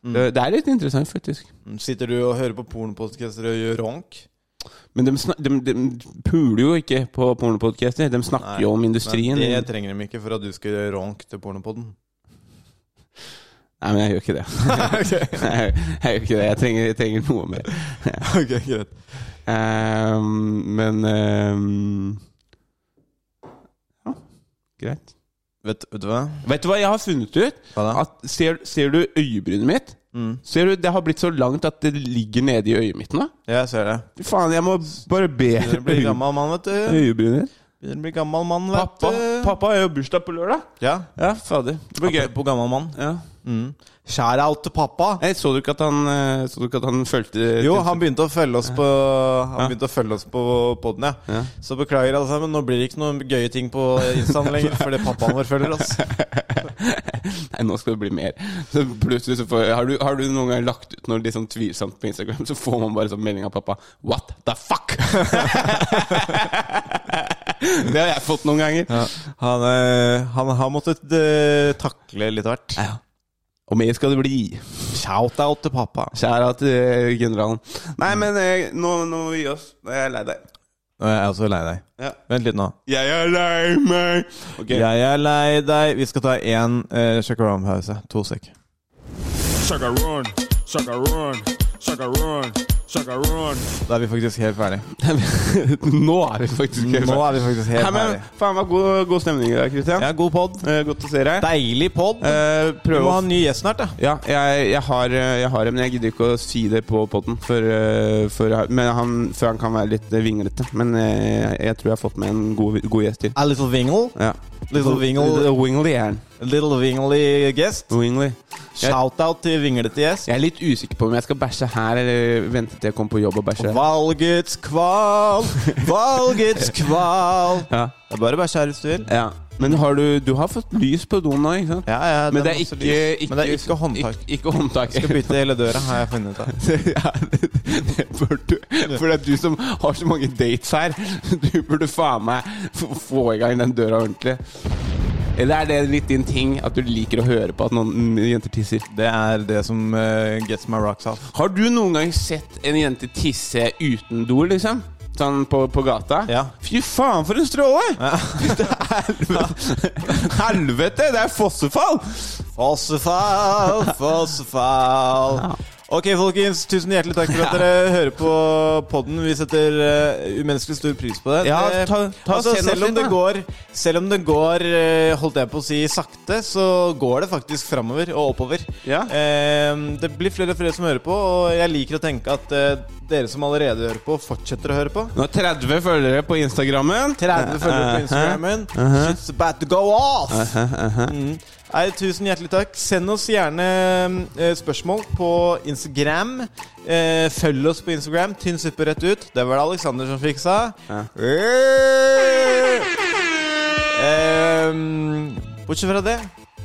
Det, det er litt interessant, faktisk.
Sitter du og hører på pornopodcaster og gjør ronk?
Men de, snak, de, de puler jo ikke på pornopodcaster. De snakker jo om industrien.
Men det trenger de ikke for at du skal gjøre ronk til pornopodden.
Nei, men jeg gjør ikke det. jeg, gjør ikke det. Jeg trenger, jeg trenger noe mer.
ok, greit.
Ehm, men ehm, Ja, greit.
Vet, vet du hva?
Vet du hva Mm. jeg har funnet ut?
Hva da?
At, ser, ser du øyebrynet mitt? Ser du, Det har blitt så langt at det ligger nede i øyet mitt nå.
Ja, jeg ser det.
Fy faen, jeg må bare be
Begynner å bli gammel mann, vet du.
Øyebryner.
Begynner å bli gammel mann, vet
Pappa,
du.
pappa har jo bursdag på lørdag.
Ja.
Ja, fader. Det blir gøy.
På gammel mann.
Ja.
Mm. Shout out til pappa.
Nei, så du ikke at han eh, Så du ikke at han følte
Jo, han begynte å følge oss på Han begynte å følge oss på podden, ja.
Ja.
Så beklager, alle sammen. Nå blir det ikke noen gøye ting på Instaen lenger, fordi pappaen vår følger oss.
Nei, nå skal det bli mer. Så plutselig så får Har du, har du noen gang lagt ut noe litt sånn tvilsomt på Instagram, så får man bare sånn melding av pappa What the fuck?! det har jeg fått noen ganger.
Han, eh, han har måttet eh, takle litt av hvert.
Og mer skal det bli.
Shout-out til pappa.
Kjære til generalen. Nei, men eh, nå, nå må vi gi oss. Nå er jeg lei deg.
Nå er jeg også lei deg.
Ja.
Vent litt nå.
Jeg er lei meg! Ok.
Jeg er lei deg. Vi skal ta én uh, pause To sek.
Sucker run, sucker run, sucker run,
Da er vi faktisk helt ferdig.
Nå er vi faktisk helt
Nå
ferdig.
er vi faktisk helt
Nei, men
ferdig.
faen meg god, god stemning i dag, Christian.
Ja, god pod.
Eh, godt å se deg.
Deilig pod.
Eh,
Vi
prøv
må
å
ha en ny gjest snart, da.
Ja, jeg, jeg, har, eh, jeg har det, men jeg gidder ikke å si det på poden før, eh, før, jeg- men han, før han kan være litt eh, vinglete. Men eh, jeg tror jeg har fått med en god, god gjest til.
A little wingle.
Ja.
Little
sånn
wingle.
Wingley er han.
Little wingly guest.
Wingley.
Shout-out til vinglete gjest.
Jeg er litt usikker på om jeg skal bæsje her eller vente til jeg kommer på jobb og bæsje.
Valgets kval, valgets kval.
Ja.
Det er bare å bæsje her hvis du vil.
Ja. Men har du, du har fått lys på doen nå, ikke sant?
Ja, ja,
Men det er
masse
ikke,
lys.
ikke
Men det er ikke håndtak.
Ikke, ikke håndtak.
Skal bytte hele døra, har jeg funnet ut av.
ja, det, det bør du. For det er du som har så mange dates her. Du burde faen meg f- få i gang den døra ordentlig. Eller er det litt din ting at du liker å høre på at noen mm, jenter tisser?
Det er det som eh, gets my rocks off.
Har du noen gang sett en jente tisse uten do, liksom? Sånn på, på gata?
Ja.
Fy faen, for en stråle! Det er helvete. helvete! Det er fossefall!
Fossefall, fossefall. Ok, folkens. Tusen hjertelig takk for at dere hører på podden. Vi setter eh, umenneskelig stor pris på det.
Ja,
Det-
ta- ta og
altså,
send oss
selv, om
litt,
det
da.
går, selv om det går, eh, holdt jeg på å si, sakte, så går det faktisk framover og oppover.
Ja.
Eh, Det blir flere og flere som hører på, og jeg liker å tenke at eh, dere som allerede hører på, fortsetter å høre på.
Nå er 30 følgere på Instagrammen.
30 følgere
Uh-huh.
på Instagrammen. Shit's about to go off! Mm. Nei, tusen hjertelig takk. Send oss gjerne eh, spørsmål på Instagram. Eh, følg oss på Instagram. Tynn suppe rett ut. Det var det Aleksander som fiksa. Eh, bortsett fra det,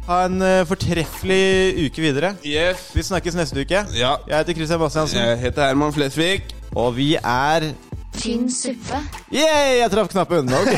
ha en eh, fortreffelig uke videre.
Yes.
Vi snakkes neste uke.
Ja.
Jeg heter Christian Bastiansen,
Jeg heter Herman Flesvig.
og vi er
Tynn suppe.
Yeah, jeg traff knappen! Ok.